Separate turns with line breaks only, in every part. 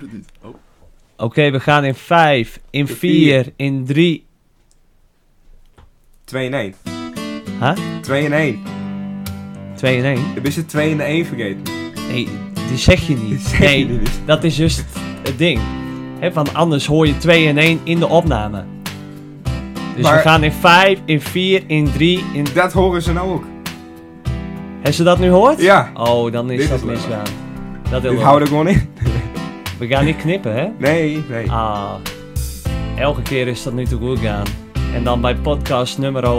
het niet. Oh.
Oké, we gaan in 5, in 4, in 3.
2 in 1.
Huh?
2 in 1.
2 in 1.
Ik ben je 2 in 1 vergeten.
Nee, die zeg je
Die
niet.
zeg
Nee,
je niet.
dat is juist het ding. Hè, want anders hoor je 2 in 1 in de opname. Dus we
Maar-
gaan in 5, in 4, in 3, in...
Dat horen ze nou ook.
Hebben ze dat nu gehoord?
Ja.
Oh, dan is
Dit
dat
is leuk.
misgaan. Dat heel
Ik
leuk.
hou er gewoon in.
We gaan niet knippen, hè?
Nee, nee.
Ah, elke keer is dat nu te goed gaan. En dan bij podcast nummer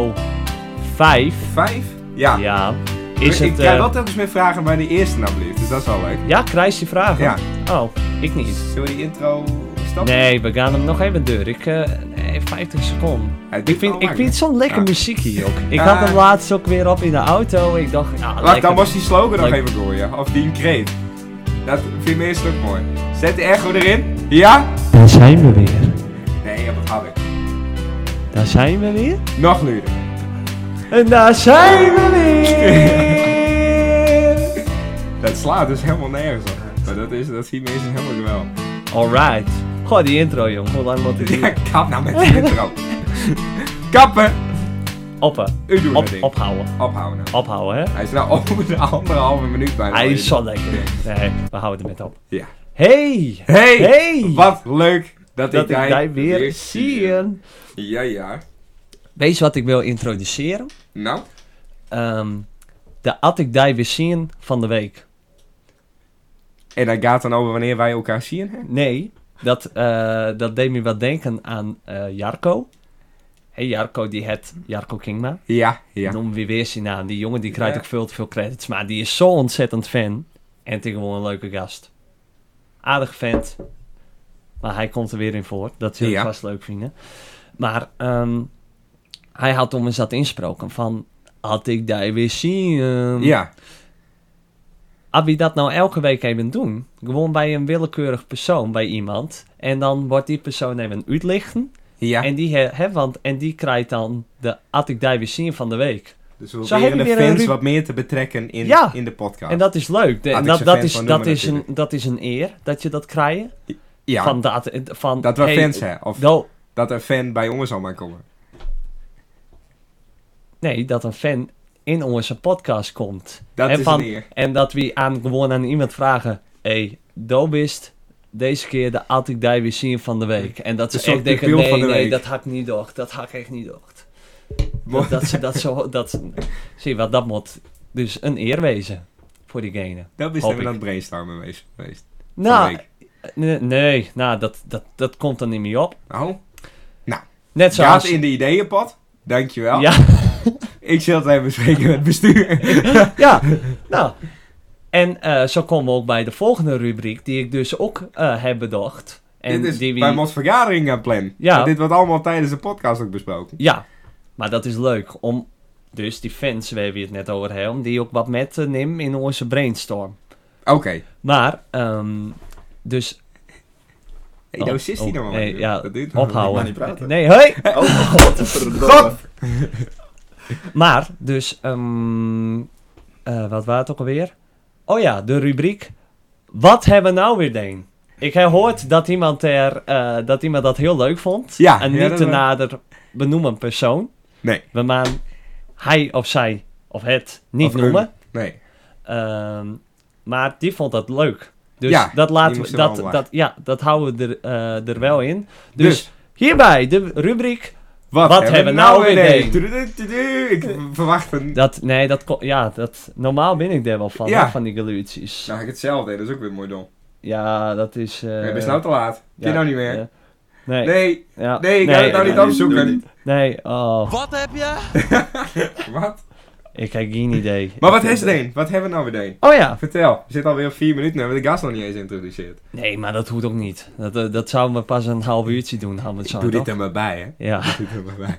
5,
5? Ja.
ja, is
ik
het...
krijg
eh,
wel telkens meer vragen waar die eerste nou bleef, dus dat is wel leuk.
Ja, krijg je vragen?
Ja.
Oh, ik niet.
Zullen we die intro stappen?
Nee, we gaan hem nog even door. Ik, eh, nee, 50 seconden.
Ja, dit
Ik
is
vind,
wel
ik
lang,
vind
hè?
zo'n lekker
Ja.
muziekje ook. Ik
Ja.
had hem laatst ook weer op in de auto. Ik dacht, ja,
Wacht, dan
lekker.
was die slogan nog
Leuk.
even door, ja. Of die kreet. Dat vind ik meestal ook mooi. Zet de echo erin. Ja?
Daar zijn we weer.
Nee, ja, dat had ik.
Daar zijn we weer.
Nog luider.
En daar zijn we weer.
Dat slaat dus helemaal nergens op. Maar dat, is, dat zien mensen helemaal wel.
Alright. Goh, die intro, jong. Hoe lang moet ik
Ja,
die?
kap nou met die intro. Kappen!
Oppen.
U doet
Op,
het ding.
ophouden.
Ophouden nou.
Ophouden, hè.
Hij is nou over de anderhalve minuut bijna.
Hij
alweer.
is zo lekker. Nee, we houden het met op.
Ja.
Hey!
Hey,
Hey!
Wat leuk dat,
Dat ik
jij
jij weer zie.
Ja, ja.
Weet je wat ik wil introduceren?
Nou,
Ehm, de At ik die weer zien van de week.
en dat gaat dan over wanneer wij elkaar zien, hè?
Nee, dat, eh, dat deed me wat denken aan eh, Jarko. Hey, Jarko, die het Jarko Kingma.
Ja, ja.
Noem weer weer zijn naam. Die jongen die krijgt
Ja.
ook veel te veel credits. Maar die is zo ontzettend fan. En tegenwoordig een leuke gast. Aardig vent. Maar hij komt er weer in voor. Dat zul je
Ja.
vast leuk vinden. Maar ehm, hij had om eens dat insproken van... Had ik daar weer zien.
Ja,
Als we dat nou elke week even doen, gewoon bij een willekeurig persoon, bij iemand, en dan wordt die persoon even uitlichten,
ja.
en, die he, hè, want, en die krijgt dan de At ik die weer zien van de week.
dus we
Zo
proberen de
heb je weer een
fans
ru-
wat meer te betrekken in,
Ja.
in de podcast.
En dat is leuk. De-
Had
en
ik
dat,
ze
dat,
fan
is,
van
dat,
noemen
is een,
natuurlijk.
dat is een eer dat je dat krijgt.
ja,
Van dat, van,
dat we
hey,
fans zijn. Of
nou,
dat een fan bij ons allemaal komen.
nee, dat een fan in onze podcast komt.
Dat
en,
is
van,
een eer.
en dat we aan, gewoon aan iemand vragen, hey, do bist deze keer de At ik die weer zien van de week. En dat ze
Een soort
echt denken,
debiel
nee,
van de
nee,
week.
dat hak ik niet door. Dat hak ik echt niet door.
Mooi.
Dat, dat, ze- dat, zo, dat, zie je wat, dat moet dus een eer wezen voor diegene.
Dat is
hoop
even
ik.
aan het brainstormen geweest. geweest van de
Nou,
week.
nee, nee, nou, dat, dat, dat komt er niet meer op.
Nou,
Net
gaat
zoals...
in de ideeënpad. Dankjewel.
Ja,
Ik zal het even bespreken met het bestuur.
ja, nou. En eh, zo komen we ook bij de volgende rubriek, die ik dus ook eh, heb bedacht. En
dit is
die we-
bij Mos vergadering aan plan.
Ja.
Want Dit wordt allemaal tijdens de podcast ook besproken.
Ja, maar dat is leuk om dus die fans waar we het net over hebben, om die ook wat met te nemen in onze brainstorm.
Oké.
Maar, ehm, dus
Hey,
Oh,
nou zit hij
oh,
nou maar.
nee,
joh.
ja,
Dat duurt nog
ophouden.
niet praten.
Nee, hoi!
Oh,
God!
godverdomme.
Maar, dus, ehm, eh, wat was het ook alweer? Oh ja, de rubriek. Wat hebben we nou weer deen? Ik heb gehoord dat iemand, er, eh, dat iemand dat heel leuk vond.
Ja,
Een
ja,
niet
dat
te
wel.
nader benoemen persoon.
Nee.
We maan hij of zij of het niet
Of een.
noemen.
Nee.
Ehm, maar die vond dat leuk. Dus
Ja,
dat
die
laten
moest
we,
er wel
dat,
om
dat, ja, dat houden we er, eh, er wel in. Dus,
Dus,
hierbij de rubriek.
wat,
wat
hebben
hebben
we
we nou
nou
weer
weer?
deed?
Tududududu. Ik verwacht een...
Dat, nee, dat, ko- ja, dat, normaal ben ik daar wel van,
Ja.
hè, van die geluidjes.
Nou, ik hetzelfde. hè. Dat is ook weer mooi dom.
Ja, dat is. eh
Het is nou te laat. Kun je
ja,
nou niet meer?
ja. Nee.
Nee.
ja,
Nee, ik ga het nou
eh,
niet opzoeken.
Nee, oh.
Wat?
Ik heb geen idee.
Maar wat is het een? Wat hebben we nou weer een?
Oh ja.
Vertel. We zitten alweer op vier minuten en we hebben de gast nog niet eens geïntroduceerd.
Nee, maar dat hoeft ook niet. Dat, eh, dat zouden we pas een half uurtje doen, hadden we het
Ik
zo.
doe dit
toch?
er maar bij, hè.
Ja.
Ik doe dit er maar bij.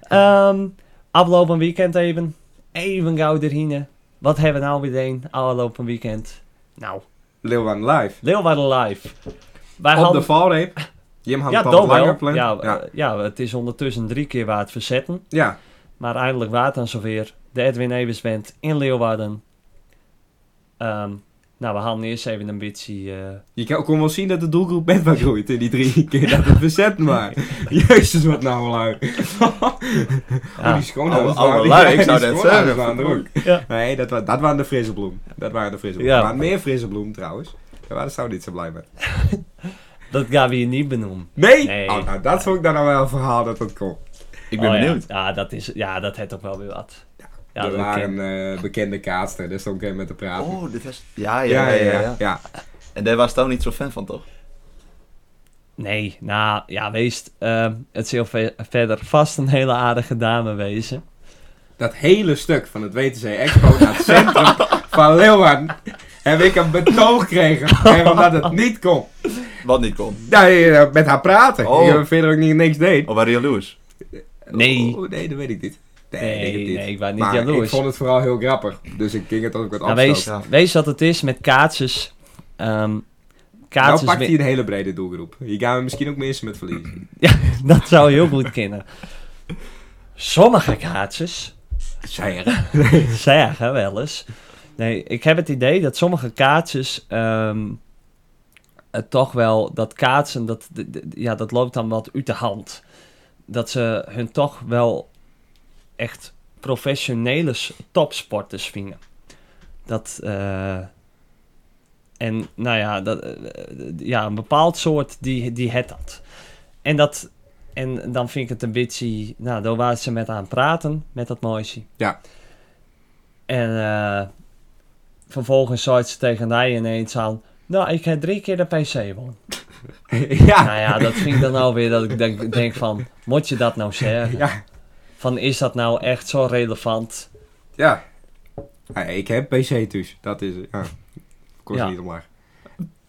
Ehm aflopen weekend even. Even gauw erheen. Wat hebben we nou weer deen? Afgelopen weekend. Nou,
Lil Wayne Live.
Leeuwarden live. Wij
Op de valreep. Jim had
ja,
het al
dan
wat langer
wel.
plan.
Ja,
ja.
eh, ja, het is ondertussen drie keer waard verzetten.
Ja.
Maar eindelijk waard dan zover. De Edwin Evers Band in Leeuwarden. Ehm, Nou, we halen eerst even een beetje... eh,
Je kan- kon wel zien dat de doelgroep met wat groeit in die drie keer dat het verzet maar. Jezus, wat nou wel uit.
ja.
Oh, die schoonhouders
Alle-
waren-
alle lui,
die-
ik zou
die
net
schoonhouders
zeggen,
waren er ook.
Ja.
Nee, dat, wa- dat waren de frisse bloem. Dat waren de frisse bloem.
Ja.
Er waren meer frisse bloem trouwens. Daar waren ze nou niet zo blij mee.
Dat gaan we hier niet benoemen.
Nee!
Nee.
Oh, nou, dat vond ik dan nou wel een verhaal dat dat kon.
Ik ben
Oh, ja.
benieuwd.
Ja, dat is... Ja, dat heeft ook wel weer wat. Ja,
er
dat
waren
ken-
eh, bekende kaatster, daar stond ik even met te praten.
Oh, dit was... Ja,
ja, ja, ja, ja.
En daar was Toon niet zo fan van, toch?
Nee, nou, ja, wees... ehm, het zal ve- verder vast een hele aardige dame wezen.
Dat hele stuk van het WTC Expo naar het centrum van Leeuwarden heb ik een betoog gekregen. En omdat het niet kon.
Wat niet kon.
Nee, eh, met haar praten.
Oh.
Ik eh, verder ook niet, niks deed.
Of Oh, waren jullie jaloers?
Oh, Nee. nou,
Oh, nee, dat weet ik niet. Nee, ik
Nee,
heb niet.
nee, ik was niet
maar
jaloers.
ik vond het vooral heel grappig. Dus ik ging het ook wat
Nou,
afstoten.
wees,
ja.
wees wat het is met kaatsers. Ehm
Nou
kaatsers
pakt
wi-
hij een hele brede doelgroep. Hier gaan we misschien ook mensen met verliezen.
Dat zou heel goed kunnen. Sommige kaatsers
Zij
zeggen wel eens. Nee, ik heb het idee dat sommige kaatsers ehm, het toch wel dat kaatsen dat d- d- ja dat loopt dan wat uit de hand. Dat ze hun toch wel echt professionele s- topsporters vinden. Dat eh, en nou ja, dat, eh, eh, ja, een bepaald soort die, die het dat. En dat en dan vind ik het een beetje, nou, daar waren ze met aan praten met dat mooisje. En eh, vervolgens zei ze tegen mij ineens aan... Nou, ik heb drie keer de PC won.
ja.
Nou ja, dat vind ik dan alweer dat ik denk, denk van... Moet je dat nou zeggen?
Ja.
Van, is dat nou echt zo relevant?
ja. Ja, ik heb PC dus. Dat is het. Ja. Kost
Ja.
niet omlaag.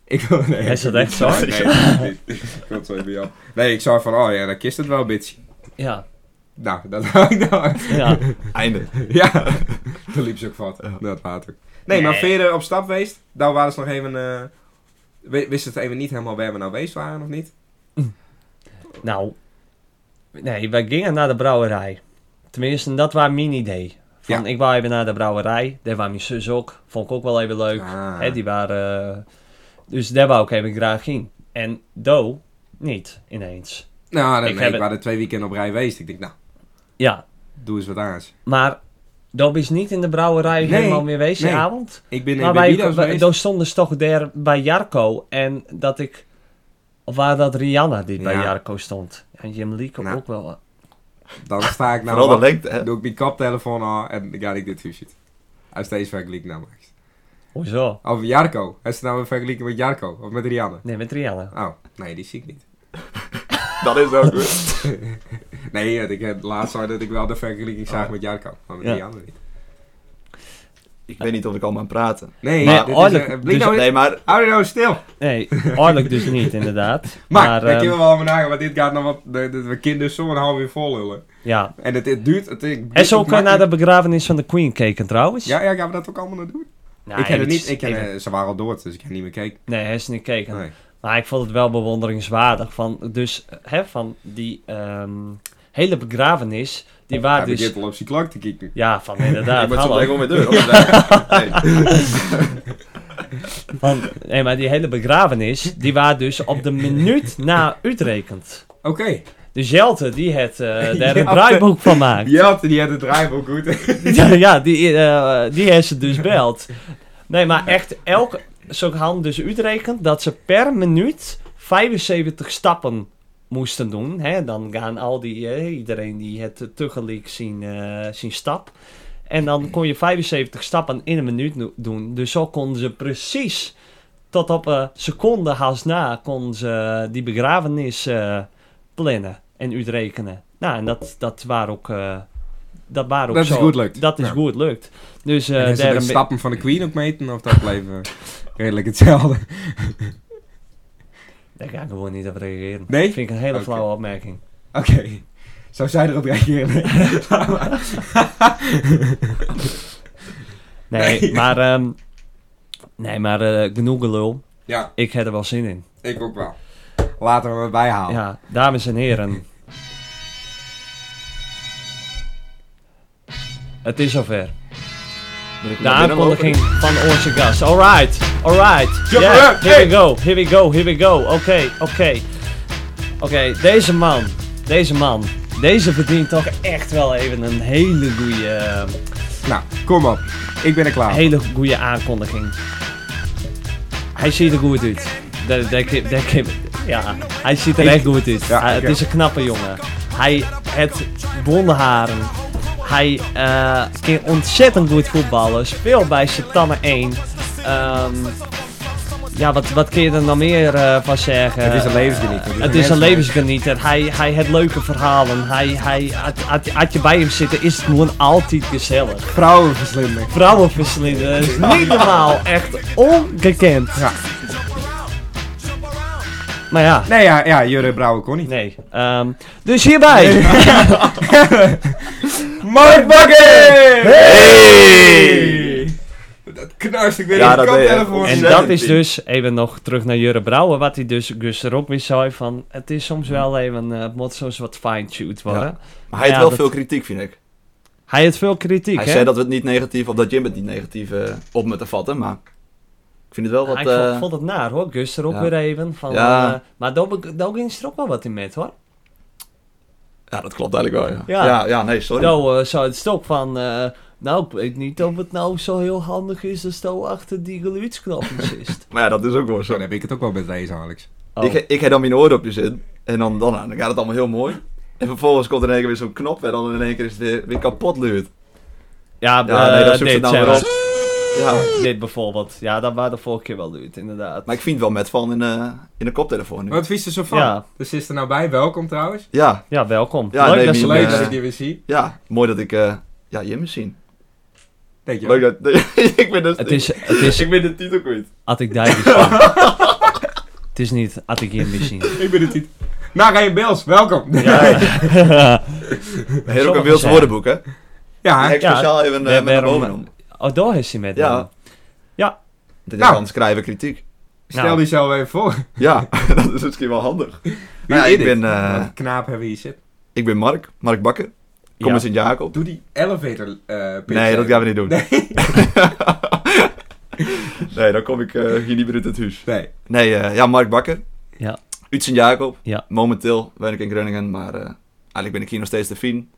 Ik wil... Nee,
Is dat echt zo?
Nee, nee, nee. Ik wil het zo even jou. Nee, ik zou van... Oh ja, dan kist het wel, bitch.
Ja,
Nou, dat hou ik nou uit.
ja.
Einde.
Nou,
Ja, toen liep ze ook vat. Dat water. Nee, maar
Nee.
verder op stap geweest. Daar waren ze nog even... eh, wi- wisten het even niet helemaal waar we nou geweest waren, of niet?
Nou, nee, wij gingen naar de brouwerij. Tenminste, dat was mijn idee. Van,
Ja.
ik wou even naar de brouwerij. Daar was mijn zus ook. Vond ik ook wel even leuk.
Ah.
Hè, die waren... eh, dus daar wou ik even graag in. En Do, niet, ineens.
Nou, nee,
Ik
ik,
heb
ik
het-
waren er twee weekenden op rij geweest. Ik denk, nou,
Ja,
doe eens wat aans.
maar dat is niet in de brouwerij
Nee,
helemaal meer wezen
nee.
avond.
Ik ben
Nou, maar
in
wij,
Bibido's
wij-
geweest.
daar stonden ze toch daar bij Jarko en dat ik... Of waren dat Rihanna die bij
Ja.
Jarko stond? En Jim Lee kon
Nou.
ook wel...
Dan sta ik nou...
Vooral de
op,
lengte, hè?
doe ik mijn kaptelefoon aan en dan ga ik dit huisje. Hij is steeds vergeleken nou Max.
Hoezo?
Of Jarko. Hij is nou weer vergeleken met Jarko. Of met Rianne.
Nee, met Rihanna.
Oh, nee, die zie ik niet.
Dat is ook goed.
Nee, eh, ik heb laatst al dat ik wel de vergelijking zag met Jarko. Maar met
Oh. Ja.
Rianne niet.
Ik weet niet of ik allemaal aan praten.
Nee,
Maar
dit is...
oorlijk,
eh,
dus-
Blink nou
Nee, maar...
Hou je nou stil.
Nee, oorlijk dus niet inderdaad.
Maar, daar
ehm,
kunnen we wel over nagaan, want dit gaat nog wat... de- de- We kinderen zo'n half uur vol lullen.
ja.
En het, het duurt... Het, ik-
En zo ook eh,
makkelijk-
naar de begrafenis van de Queen keken trouwens.
Ja, ja, gaan we dat ook allemaal nog doen?
Nou,
ik ken het
iets-
niet. Ik ken, eh, ze waren al door, dus ik heb niet meer gekeken.
Nee, hij is niet keken.
Nee.
Maar ik vond het wel bewonderingswaardig. Van, dus hè, van die ehm, hele begrafenis,
Oh,
die
Hij
waar dus...
begint al op zijn klok te kijken.
Ja, van inderdaad.
ik moet zo
hallo.
direct wel met deur. hoor. Nee.
Van, nee, maar die hele begrafenis, die waar dus op de minuut na uitrekend.
Oké.
Dus Jelte, die het, eh, daar
Jelte.
een draaiboek van maakt.
Jelte, die had het draaiboek
Eh,
goed.
ja, ja, die, eh, die heeft ze dus belt. Nee, maar echt, elke... Zo hadden dus uitrekend dat ze per minuut 75 stappen moesten doen. Hè? Dan gaan al die... eh, iedereen die het eh, tegelijk zien, eh, zien stap. En dan kon je 75 stappen in een minuut no- doen. Dus zo konden ze precies tot op een seconde haast na... konden ze die begrafenis eh, plannen en uitrekenen. Nou, en dat, dat waren ook... eh, dat waren ook
Dat is
zo.
goed lukt.
Dat is
Ja.
goed lukt. Dus eh
en ze de
daarom...
stappen van de Queen ook meten, of dat bleef eh, redelijk hetzelfde.
Daar ga ik gewoon niet op reageren.
Nee?
Dat vind ik een hele
Oké.
flauwe opmerking.
Oké. Zou zij erop reageren? Nee.
Nee, maar... ehm, nee, maar eh, genoeg gelul.
ja,
Ik heb er wel zin in.
ik ook wel. Laten we het bijhalen.
Ja, dames en heren. Het is zover.
Ben ik
De
maar binnenlopen?
aankondiging van onze gast. Alright, alright.
Jump
Yeah,
around,
here we
hey.
go, here we go, here we go. Oké, oké. Oké, deze man. Deze man. Deze verdient toch echt wel even een hele ehm, goede,
Nou, kom op. Ik ben er klaar. voor.
hele goede aankondiging. Hij ziet er goed uit. Dat- dat kan- dat kan- Ja, hij ziet er
Ik-
echt goed uit.
Ja,
Hij-
oké.
Het is een knappe jongen. Hij heeft blonde haren. Hij eh kan ontzettend goed voetballen. Speelt bij Satamme 1. Ehm, ja, wat, wat kun je er nog meer eh, van zeggen?
Het is een levensgenieter.
Het is een levensgenieter. Hij, hij heeft leuke verhalen. Hij, hij, had- had- had je bij hem zitten, is het gewoon altijd gezellig
Vrouwenverslinder.
vrouwenverslinden. Dat is niet normaal. Echt ongekend.
Ja.
Maar ja,
Nee, ja, ja Jurre Brouwer kon niet.
nee. Ehm, dus hierbij.
Mark Bakker!
Hey!
Dat knarst ik weer
Ja,
in de
dat ben je.
koptelefoon.
En dat is dus, even nog terug naar Jurre Brouwer, wat hij dus Gus er ook weer zei van, het is soms wel even, eh, het moet soms wat fine-tuned worden.
Maar hij heeft
Ja,
wel
dat-
veel kritiek, vind ik.
Hij heeft veel kritiek,
Hij
hè?
zei dat we het niet negatief, of dat Jim het niet negatief eh, op me te vatten, maar ik vind het wel wat...
ik
eh,
vond, vond het naar, hoor. Gus er ook
ja.
weer even van,
Ja.
eh, maar daar daar ging ze er ook wel wat in met, hoor.
Ja, dat klopt eigenlijk wel, ja.
Ja.
Ja, ja, nee, sorry.
Nou, eh, zo het is ook van, eh, nou, ik weet niet of het nou zo heel handig is als daar achter die geluidsknopjes is.
Maar ja, dat is ook wel zo.
Dan heb ik het ook wel met deze, Alex.
Oh.
Ik, ik heb dan mijn oordopjes in. En dan, dan, dan gaat het allemaal heel mooi. En vervolgens komt er in één keer weer zo'n knop. En dan in één keer is het weer, weer kapot luid.
Ja,
Ja,
eh,
nee, dat zoekt het
dit,
nou
zeg
weer
maar.
op. Ja.
Dit bijvoorbeeld. Ja, dat waren de vorige keer wel duurt, inderdaad.
Maar ik vind het wel met van in, eh, in de koptelefoon nu.
Wat vies er zo van?
Ja.
Dus is er nou bij. Welkom trouwens.
Ja,
Ja, welkom.
Ja,
Leuk
nee,
dat
niet
ze
Leuk
meer.
leuk
dat
eh,
ik je weer zie.
ja. Mooi dat ik... eh, ja, Jim is zien.
Dank je.
Leuk dat... ik ben dus,
Het is, het is,
Ik ben de titel kwijt.
had ik daar gezien. Het is niet, had ik hier misschien.
Ik ben het niet. Nou, Ryan Bils, welkom. Ja,
Ja,
Heel ook
Sommige
een Wils
zijn.
woordenboek, hè?
ja.
ik speciaal even
we
eh, met naar
hebben
boven
hem-
om.
oh, daar is hij met
Ja.
hem. Ja.
Dit is
Nou.
dan schrijven kritiek.
stel
Nou.
die zo even voor.
Ja, dat is misschien wel handig.
Wie
Nou,
is
ik,
dit?
ben, eh,
Wat knaap hebben we hier zitten.
ik ben Mark, Mark Bakker. Kom
Ja.
uit Sint-Jacob.
Doe die elevator eh, pitch
Nee, dat
even.
gaan we niet doen.
Nee.
nee, dan kom ik eh, hier niet meer uit het huis.
Nee.
Nee, eh, ja, Mark Bakker.
Ja.
Uit Sint-Jacob.
Ja.
Momenteel ben ik in Groningen, maar eh, eigenlijk ben ik hier nog steeds te fien.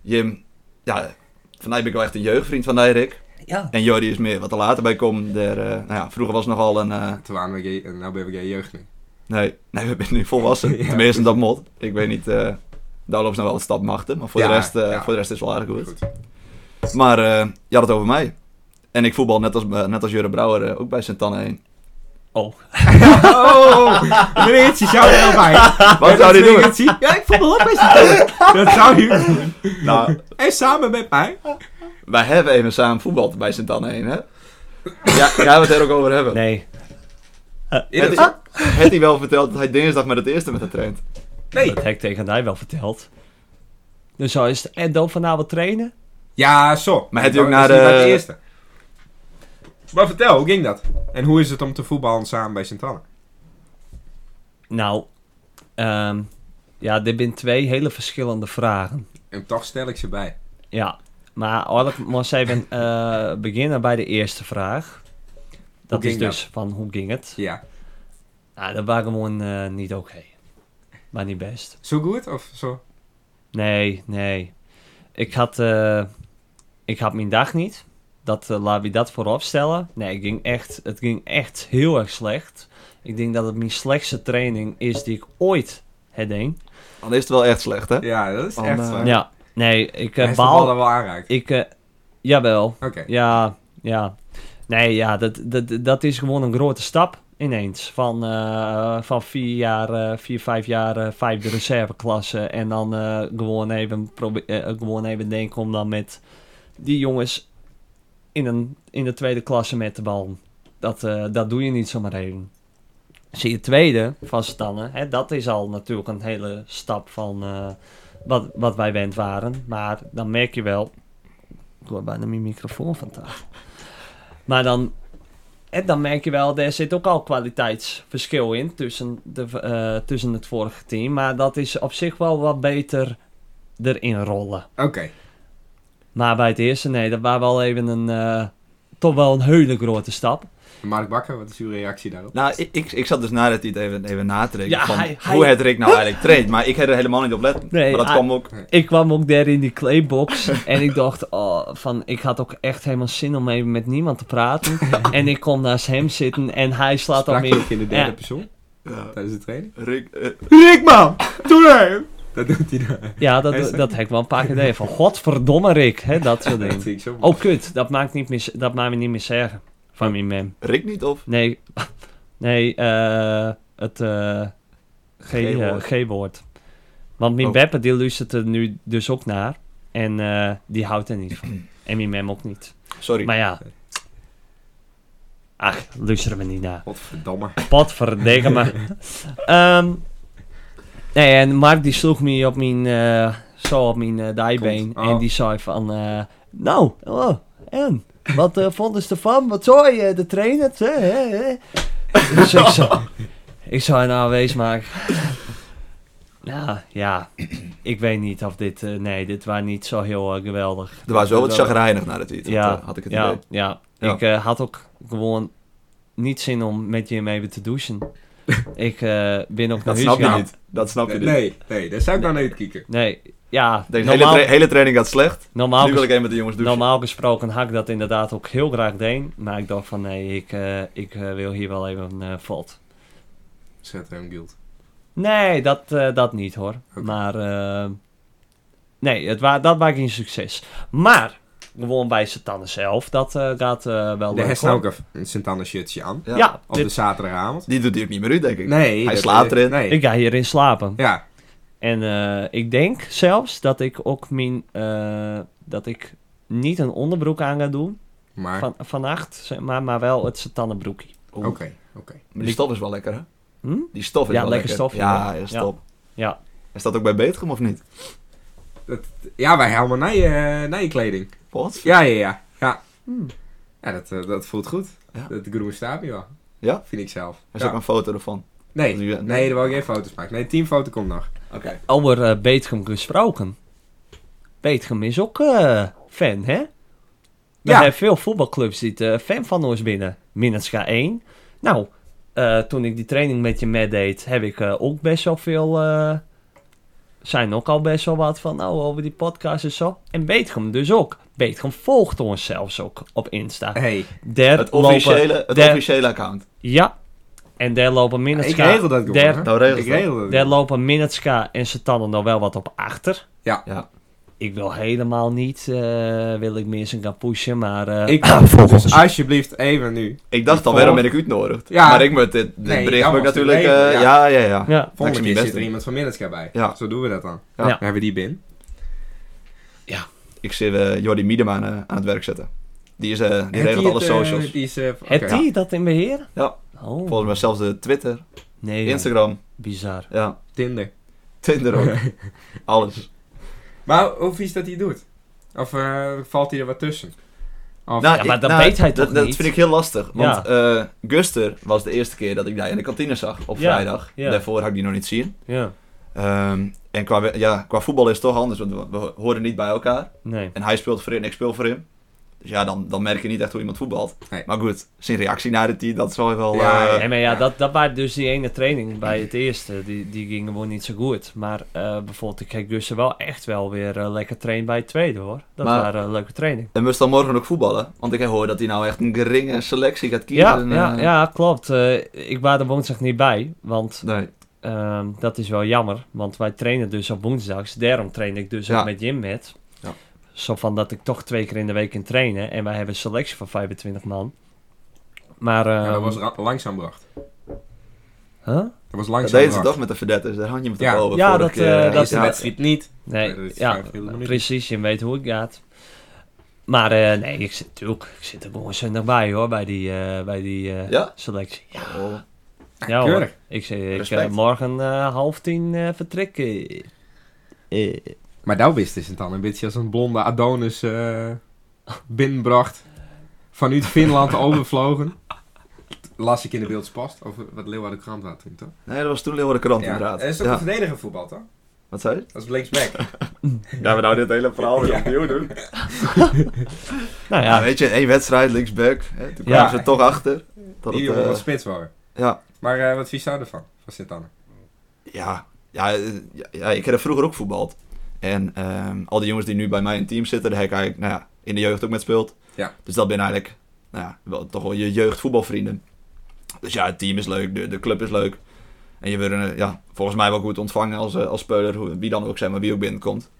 Jim, ja, van mij ben ik wel echt een jeugdvriend van die Rick.
Ja.
En Jordi is meer wat er later bij komt. Der, eh, nou ja, vroeger was het nogal een... eh,
Toen waren we gay en nou ben ik gay jeugdling.
nee, nee, we zijn nu volwassen.
Ja.
Tenminste, dat mot. Ik weet niet, eh, daar lopen ze nog wel een stap machten. Maar voor,
Ja,
de, rest, eh,
ja.
voor de rest is het wel aardig goed. Maar eh je had het over mij. En ik voetbal net als, eh, net als Jurre Brouwer eh, ook bij Sint-Anne heen.
Oh.
Oh, meneertje, zou je nou erbij.
Ah,
Wat zou die doen?
Ja, ik voel me op Dat zou je doen.
Nou,
En samen met mij.
wij hebben even samen voetbal bij Sint-Anne heen, hè? Ja, gaan we het er ook over hebben.
Nee.
Heeft hij-
Ah,
heeft hij wel verteld dat hij dinsdag met het eerste met haar traint?
Nee.
Dat heb ik tegen hij wel verteld. Dus zo is het. En dan vanavond trainen?
Ja, zo.
Maar het is ook
Dat
naar
niet
de-
bij het eerste. Maar vertel, hoe ging dat? En hoe is het om te voetballen samen bij sint Anne?
Nou, ehm, ja, dit zijn twee hele verschillende vragen.
En toch stel ik ze bij.
Ja, maar eigenlijk moest even eh, beginnen bij de eerste vraag. Dat
Hoe
is
ging
dus van hoe ging het?
Ja.
Nou, dat was gewoon eh, niet oké. Maar niet best.
Zo goed of zo?
Nee, nee. Ik had, eh, ik had mijn dag niet. Dat, eh, laat ik dat voorop stellen. Nee, het ging, echt, het ging echt heel erg slecht. Ik denk dat het mijn slechtste training is die ik ooit heb gedaan.
Dan is het wel echt slecht, hè?
Oh Ja, dat is
Van,
echt
eh,
waar.
Ja, nee, ik
Hij
eh
is de bal
baal...
dan wel aanraakt.
Ik, eh, jawel.
Oké.
Ja, ja. Nee, ja, dat, dat, dat is gewoon een grote stap ineens. Van, eh, van vier jaar, eh, vier, vijf jaar, eh, vijfde reserveklasse. En dan eh, gewoon, even probe- eh, gewoon even denken om dan met die jongens in, een, in de tweede klasse met de bal. Dat, eh, dat doe je niet zomaar even. Zie je tweede van Stannen, hè, dat is al natuurlijk een hele stap van eh, wat, wat wij wend waren. Maar dan merk je wel, ik hoor bijna mijn microfoon vandaag. Maar dan, en dan merk je wel, er zit ook al kwaliteitsverschil in tussen, de, eh, tussen het vorige team. Maar dat is op zich wel wat beter erin rollen.
Oké.
Maar bij het eerste, nee, dat was wel even een, eh, toch wel een hele grote stap.
Mark Bakker, wat is uw reactie daarop?
Nou, ik, ik, ik zat dus nadat hij het even, even na te rekenen
Ja,
van
hij- hij-
hoe het Rick nou eigenlijk traint. Maar ik had er helemaal niet op letten.
Nee,
maar dat
hij-
kwam ook...
Ik kwam ook daar in die claybox en ik dacht, oh, van, ik had ook echt helemaal zin om even met niemand te praten. En ik kom naast hem zitten en hij slaat dan
Sprak je
meer.
ook in de derde
Ja.
persoon
Ja,
tijdens de training?
Rick... eh,
Rick, man! Doe hem! Dat doet hij dan.
Ja, dat,
Hij
dat,
is-
heb ik wel een paar keer gedaan. Van godverdomme Rick, hè, dat soort
Dat
dingen.
zie ik zo.
Oh kut, dat maakt, niet meer, dat maakt me niet meer zeggen van mijn mem.
Rick niet of...
Nee, nee, eh, het eh, G- eh,
G-woord.
G-woord. Want mijn
Oh.
Beppe die luistert er nu dus ook naar. En eh, die houdt er niet van. En mijn mem ook niet.
Sorry.
Maar ja. Ach, luisteren we niet naar.
Godverdamme.
Potverdikke me. Ehm, nee, en Mark die sloeg me op mijn, eh, zo op mijn eh, dijbeen.
Kont. Oh.
En die zei van, eh, nou, oh, en? Wat eh, vonden ze ervan? Wat zei je, de trainer? Hè, hè, hè? Dus ik zei, ik zei nou, wees maar. Nou, ja, ik weet niet of dit, eh, nee, dit was niet zo heel eh, geweldig.
Er was wel wat
Dat-
chagrijnig nadat hij het had,
Ja,
eh, had ik het
Ja,
idee.
ja.
Ja.
ik eh, had ook gewoon niet zin om met je mee te douchen. ik eh, ben ook naar
Dat
huis
snap je
gegaan.
niet. Dat snap je
Nee,
niet.
nee, nee, daar zou ik dan uit kieken.
Nee, ja,
Deze
normaal,
hele, tra- hele training gaat slecht.
normaal,
nu wil ik
ges-
even met de jongens douchen.
normaal gesproken had ik dat inderdaad ook heel graag deed. Maar ik dacht van nee, ik, eh, ik eh, wil hier wel even eh valt.
Zet hem guild.
Nee, dat, eh, dat niet hoor.
Oké.
Maar eh, nee, het wa dat maakt geen succes. Maar gewoon bij Satan zelf, dat eh, gaat eh, wel
De
leuk,
heeft
hoor.
nou ook een- een Sint-Anne shirtje aan.
Ja.
Ja,
Op de
dit-
zaterdagavond.
Die doet hij ook niet meer uit, denk ik.
Nee.
Hij
dat-
slaapt erin.
Nee.
ik ga hierin slapen.
Ja,
En eh, ik denk zelfs dat ik ook mijn, eh, dat ik niet een onderbroek aan ga doen
maar...
van, vannacht, zeg maar, maar wel het satannenbroekje.
Oeh,
Oké, oké.
Maar die stof is wel lekker, hè?
Hm?
Die stof is
Ja,
wel
lekker stof,
Ja,
ja.
is top.
Ja.
Is dat ook bij Beetgem of niet?
Ja, wij helemaal naar je, naar je kleding.
Wat?
Ja, ja, ja. Ja,
Hmm.
ja dat, eh, dat voelt goed.
Ja.
Dat groene staapje wel.
Ja?
Vind ik zelf.
Er is
Ja.
ook een foto ervan.
Nee,
Dus je-
nee, daar wil ik geen foto's maken. Nee, teamfoto komt nog.
Oké.
Over eh, Beetgem gesproken. Beetgem is ook eh, fan, hè? Er
Ja.
zijn veel voetbalclubs die eh, fan van ons binnen. Minenska 1. Nou, eh, toen ik die training met je meedeed, heb ik eh, ook best wel veel... eh, zijn ook al best wel wat van, nou, over die podcast en zo. En Beetgem dus ook. Beetgem volgt ons zelfs ook op Insta.
Hey,
Der
Het officiële, het
der-
officiële account.
Ja. En daar lopen
ik
Minenska...
regel dat gewoon.
der-
hè?
Nou, regel
ik
dat.
regel dat.
daar lopen Minetska en Satannen nog wel wat op achter.
Ja.
Ja.
Ik wil helemaal niet, eh, wil ik meer zijn gaan pushen, maar... eh,
Ik,
volgens-
dus alsjeblieft even nu.
Ik dacht al,
Volgende-
waarom ben ik uitnodigd?
Ja.
Maar ik moet dit, dit
Nee,
bericht
dat
moet ik
was de
natuurlijk...
regel,
eh, ja,
ja.
ja, ja.
ja.
Dat is
Volgende
mijn
keer
beste.
zit er iemand van Minneska bij.
Ja.
Zo doen we dat dan.
Ja.
Dan hebben we die bin.
Ik zie eh Jordi Miedema aan, eh, aan het werk zetten. Die, is, eh, die regelt alle
het, eh,
socials.
die is, eh, oké.
Heb die dat in beheer?
Ja.
Oh,
Volgens mij zelfs de Twitter,
nee, joh.
Instagram,
bizar.
ja,
Tinder.
Tinder ook. Alles.
Maar hoe vies dat hij doet? Of eh, valt hij er wat tussen? Of,
ja, maar dat weet hij
Nou, dat,
toch
dat
niet?
vind ik heel lastig. Want
Ja.
eh, Guster was de eerste keer dat ik die in de kantine zag op
Ja,
vrijdag.
ja.
Daarvoor had ik die nog niet zien.
Ja,
Ehm, en qua, we- ja, qua voetbal is het toch anders, want we, we horen niet bij elkaar.
nee.
En hij speelt voor hem en ik speel voor hem. Dus ja, dan, dan merk je niet echt hoe iemand voetbalt.
Nee.
Maar goed, zijn reactie naar de team, dat is wel... wel
Ja,
eh,
Nee, maar ja,
Ja.
dat, dat waren dus die ene training bij het eerste. Die, die ging gewoon niet zo goed. Maar eh, bijvoorbeeld, ik kijk dus wel echt wel weer eh, lekker trainen bij het tweede, hoor. Dat
Maar-
waren eh, leuke training.
En moest dan morgen ook voetballen? Want ik hoor dat hij nou echt een geringe selectie gaat kiezen.
Ja,
En,
ja,
eh,
ja, klopt. Eh, ik was er woensdag niet bij, want
Nee.
Ehm, dat is wel jammer, want wij trainen dus op woensdags. Daarom train ik dus
Ja.
ook met Jim met.
Ja.
Zo van dat ik toch twee keer in de week in trainen. En wij hebben een selectie van 25 man. Maar... ehm,
Ja, dat was ra- langzaam bracht.
huh?
Dat was
Dat
langzaam
deed ze
bracht.
toch met de verdetters, daar hang je met de
Ja.
boven.
Ja,
vorige
dat,
keer.
eh,
De
dat-
eerste
ja.
wedstrijd niet.
Nee,
dat is
ja,
vijf hele minuten.
precies. Je weet hoe het gaat. Maar eh, nee, ik zit natuurlijk... Ik zit er gewoon zondag bij hoor, bij die, eh, bij die eh,
Ja?
selectie. Ja,
Oh,
ja hoor.
keurig.
Ik, zeg, ik
Respect.
eh, morgen eh, half tien eh, vertrekken. Eh,
Maar daar wist is het dan een beetje als een blonde Adonis eh binnenbracht. Vanuit Finland overvlogen. Las ik in de beeldspast. Of wat Leeuwarden krant had toen, toch?
Nee, dat was toen Leeuwarden Krant inderdaad.
Hij is ook
Ja.
een verdediger voetbal, toch?
Wat zei je?
Dat is linksback.
Gaan we nou dit hele verhaal weer opnieuw doen?
Nou
Ja,
ja,
weet je, één wedstrijd, linksback. Hè, toen kwamen
Ja.
ze er toch achter. Dat
Die
het,
jongen
eh,
wat spits waren.
ja,
Maar eh, wat vies zou je ervan? Van sint anne
ja, ja, eh, ja, ja, ik heb er vroeger ook voetbald. En ehm, al die jongens die nu bij mij in het team zitten, daar heb ik eigenlijk nou ja, in de jeugd ook met speeld.
Ja.
Dus dat ben eigenlijk nou ja, wel, toch wel je jeugdvoetbalvrienden. Dus ja, het team is leuk, de, de club is leuk. En je wordt eh, ja, volgens mij wel goed ontvangen als, eh, als speler, hoe- wie dan ook zijn, maar wie ook binnenkomt.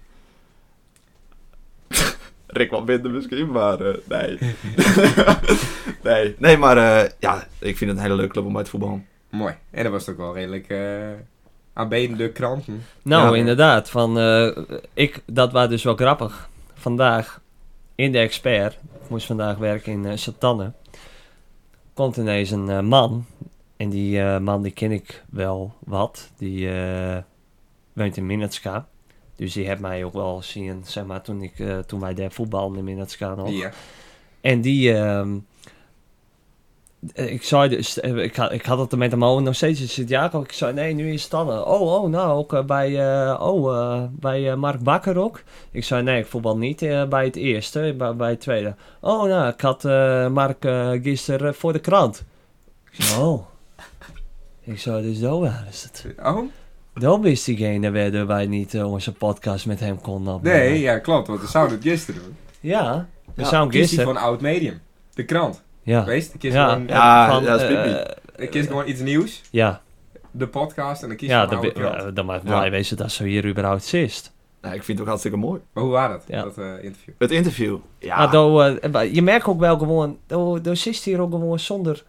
Rick wat minder misschien, maar eh, nee. nee.
Nee, maar eh, ja, ik vind het een hele leuke club om bij te voetballen.
Mooi. En dat was toch wel redelijk eh aanbedende kranten.
nou
Ja.
inderdaad. Van, eh, ik, dat was dus wel grappig. Vandaag in de expert, ik moest vandaag werken in eh Satanne, komt ineens een eh, man. En die eh, man die ken ik wel wat. Die eh, woont in Minatska. Dus die heeft mij ook wel zien, zeg maar, toen, ik, eh, toen wij daar voetbalden in Minatska nog.
Ja.
En die, ehm, ik zei dus, eh, ik had, ik had het er met hem over nog steeds in Sint-Jacob. Ik zei, nee, nu in Stannen. Oh, oh, nou, ook eh, bij, eh, oh, eh, bij eh, Mark Bakker ook. Ik zei, nee, ik voetbal niet eh, bij het eerste, bij, bij het tweede. Oh, nou, ik had eh, Mark eh, gisteren voor de krant. Ik zei, oh. Ik zei, dus dat was het.
Oh?
Dat wist diegene waardoor wij niet eh, onze podcast met hem konden opnemen.
Nee, ja, klopt. Want we zouden het gisteren doen.
Ja, we zouden
Ja,
Kies die
Nou, gisteren...
van oud medium. De krant.
Ja,
Wees, kies,
Ja.
gewoon,
Ja,
van,
ja, dat is
eh,
pipi.
ik kies gewoon iets nieuws.
ja.
De podcast en dan kies je
ja,
van
dan,
oude
ben-
krant.
ja, dan mag ik
Ja.
blij wezen dat ze hier überhaupt zist.
Ja, ik vind het ook hartstikke mooi.
Maar hoe was dat,
Ja.
dat eh, interview?
Het interview. Ja,
Maar dan, eh, maar je merkt ook wel gewoon, dan dan zist hier ook gewoon zonder,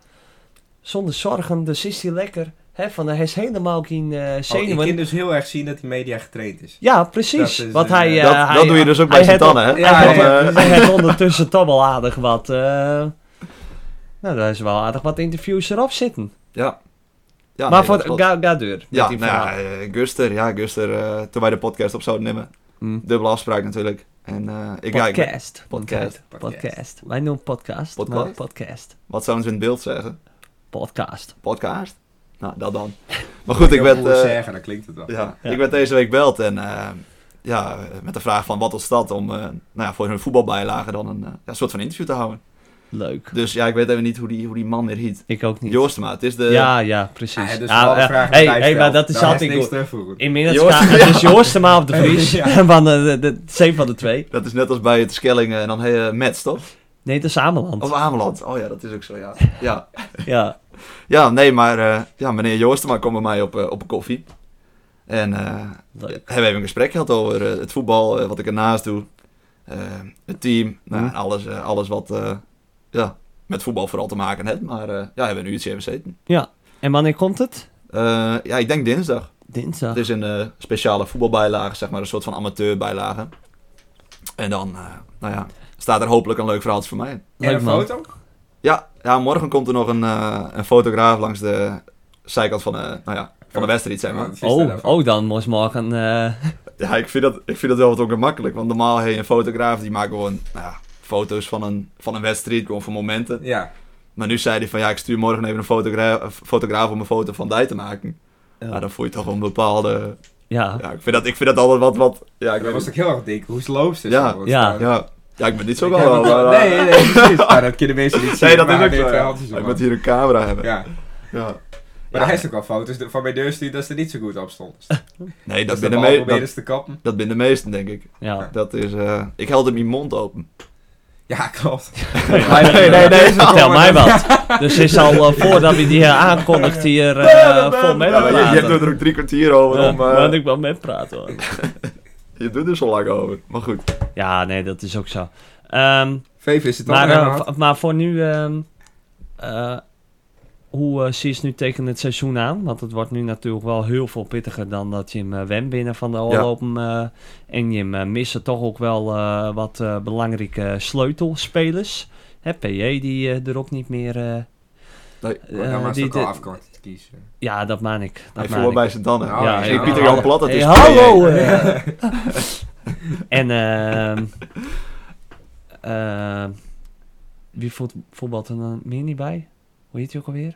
zonder zorgen, dan zist hier lekker. Hè, van, hij is helemaal geen eh
Oh, ik
zenuwen.
kan dus heel erg zien dat die media getraind is.
Ja, precies.
Dat is,
Want
eh,
hij, eh,
dat,
hij,
dat doe je dus ook bij
hij had
Sint-Anne, hè?
Ja,
hij
Want,
ja,
eh,
heeft- hij heeft ondertussen toch wel aardig wat, eh, nou, daar is wel aardig wat interviews erop zitten.
Ja. ja
maar
nee,
voor,
dat klopt.
ga, ga deur.
Ja,
die
nou ja,
verhaal.
eh, Guster, ja, Guster, eh, toen wij de podcast op zouden nemen.
Mm.
Dubbele afspraak natuurlijk. En eh, ik ja, ik-
Podcast.
Podcast.
Podcast. Podcast. Wij noemen podcast. maar
Podcast?
Podcast.
wat zouden ze in het beeld zeggen?
Podcast.
Podcast? Nou, dat dan. Maar goed, ik
Heel
werd,
cool
eh,
zeggen, dan klinkt het wel.
ja,
Ja.
ik werd deze week gebeld en eh, ja, met de vraag van wat was dat om eh, nou ja, voor hun voetbalbijlage dan een eh, ja, soort van interview te houden.
Leuk.
Dus ja, ik weet even niet hoe die, hoe die man weer hiet.
Ik ook niet.
Joost, maar het is de...
ja, ja, precies.
Ja, dus
Ah,
alle
eh,
vragen
hey,
die hij
hey,
stelt,
maar dat is
daar
altijd
niks
goed.
terug voor goed.
Inmiddels
Joost-
gaat het is Joost er maar op de Vries.
Ja.
Van eh, de, de, zeven van de twee.
Dat is net als bij het Skellingen en dan hey, eh, Mets, toch?
Nee, dat is Ameland.
Of Ameland. Oh ja, dat is ook zo, ja. Ja,
Ja.
Ja, nee, maar eh, ja, meneer Joostema kwam bij mij op, eh, op een koffie. En eh,
Leuk.
hebben we even een gesprek gehad over eh, het voetbal, eh, wat ik ernaast doe. eh, het team, nou,
Mhm.
alles, eh, alles wat eh, ja, met voetbal vooral te maken heeft. Maar eh, ja, hebben we nu iets even gezeten.
En wanneer komt het?
Eh, ja, ik denk dinsdag.
Dinsdag.
Het is een eh, speciale voetbalbijlage, zeg maar, een soort van amateurbijlage. En dan, eh, nou ja, staat er hopelijk een leuk verhaaltje voor mij in.
En
Leuk
een
man.
foto?
Ja, ja, morgen komt er nog een, eh, een fotograaf langs de zijkant van, eh, nou ja, van de wedstrijd, zeg maar.
Wat vies
Oh,
daarvan?
oh, dan moest morgen... eh
Ja, ik vind dat, ik vind dat wel wat ongemakkelijk. Want normaal heb je een fotograaf die maakt gewoon nou ja, foto's van een, van een wedstrijd, gewoon voor momenten.
Ja,
Maar nu zei hij van ja, ik stuur morgen even een fotograaf, fotograaf om een foto van Dij te maken. Ja,
ja.
dan voel je toch wel een bepaalde.
Ja.
Ja, ik vind dat, ik vind dat altijd wat. wat ja, ik
dat
weet
was
niet.
ik heel erg dik. Hoe sloos ze?
Ja,
zo.
ja.
Ik
ja. ja, ik ben niet zo
heb
wel.
het wel-
maar-
Nee, nee, nee, precies. Maar dat kunnen mensen niet zien.
Nee, dat
maar
is
hij
ook
deed
zo.
twee
Ja.
handjes
Ik
omhoog.
moet hier een camera hebben.
Ja,
Ja.
maar
Ja.
er is ook wel foto's de- van mijn deur stuurt dat ze er niet zo goed op stond.
Nee, Dus dat
Dat
ben
binnen
de
mee.
me-
Proberen
dat-
ze te kappen.
dat ben de meesten, denk ik.
Ja.
Dat is, eh, ik held hem mijn mond open.
Ja, klopt.
nee, nee, nee,
Deze
Vertel
komen
mij
dan-
wat. Dus is al eh, voordat we die hier aankondigt hier eh, vol mee
Ja, je, je hebt er
praten.
ook drie kwartier over
Ja,
om... eh,
want ik wel mee praten hoor.
Je doet er zo lang over. Maar goed.
Ja, nee, dat is ook zo. Ehm,
VV is het
Maar,
allemaal
eh,
gehad.
v- maar voor nu, ehm, eh, hoe eh zie je het nu tegen het seizoen aan? Want het wordt nu natuurlijk wel heel veel pittiger dan dat je hem eh, went binnen van de oorlopen. eh, en je hem eh, missen toch ook wel eh, wat eh, belangrijke sleutelspelers. Hè, PJ die eh, er ook niet meer... eh,
Nee,
Maar dan
eh,
was
die
het ook al
de-
afkort te kiezen.
Ja, dat maan ik. Dat
Hij
maan
voetbal
ik.
bij zijn dan.
Nou,
ja,
Ja,
ja.
Pieter Jan Plat, dat
Hey,
is...
hallo! eh. en ehm ehm, wie voet, voetbalt er dan meer niet bij? Hoe heet hij ook alweer?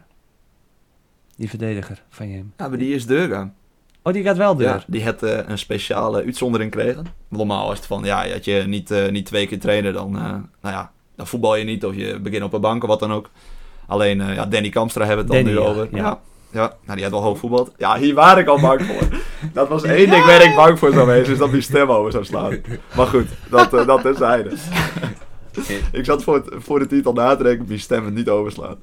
Die verdediger van je.
Ja, maar die is Durga.
Oh, die gaat wel door.
Ja, die had eh, een speciale uitzondering gekregen. Normaal is het van, ja, dat je niet, eh, niet twee keer trainen, dan, eh, nou ja, dan voetbal je niet of je begint op een bank of wat dan ook. Alleen eh, ja, Danny Kamstra hebben we het dan
Danny,
nu
ja,
over.
ja.
Ja. Ja. nou, die had wel hoog voetbald. Ja, hier waar ik al bang voor. Dat was één ding waar ik bang voor zou wezen, is dat die stem over zou slaan. Maar goed, dat, eh, dat terzijde. ik zat voor, het, voor de titel na te denken, die stem het niet overslaat.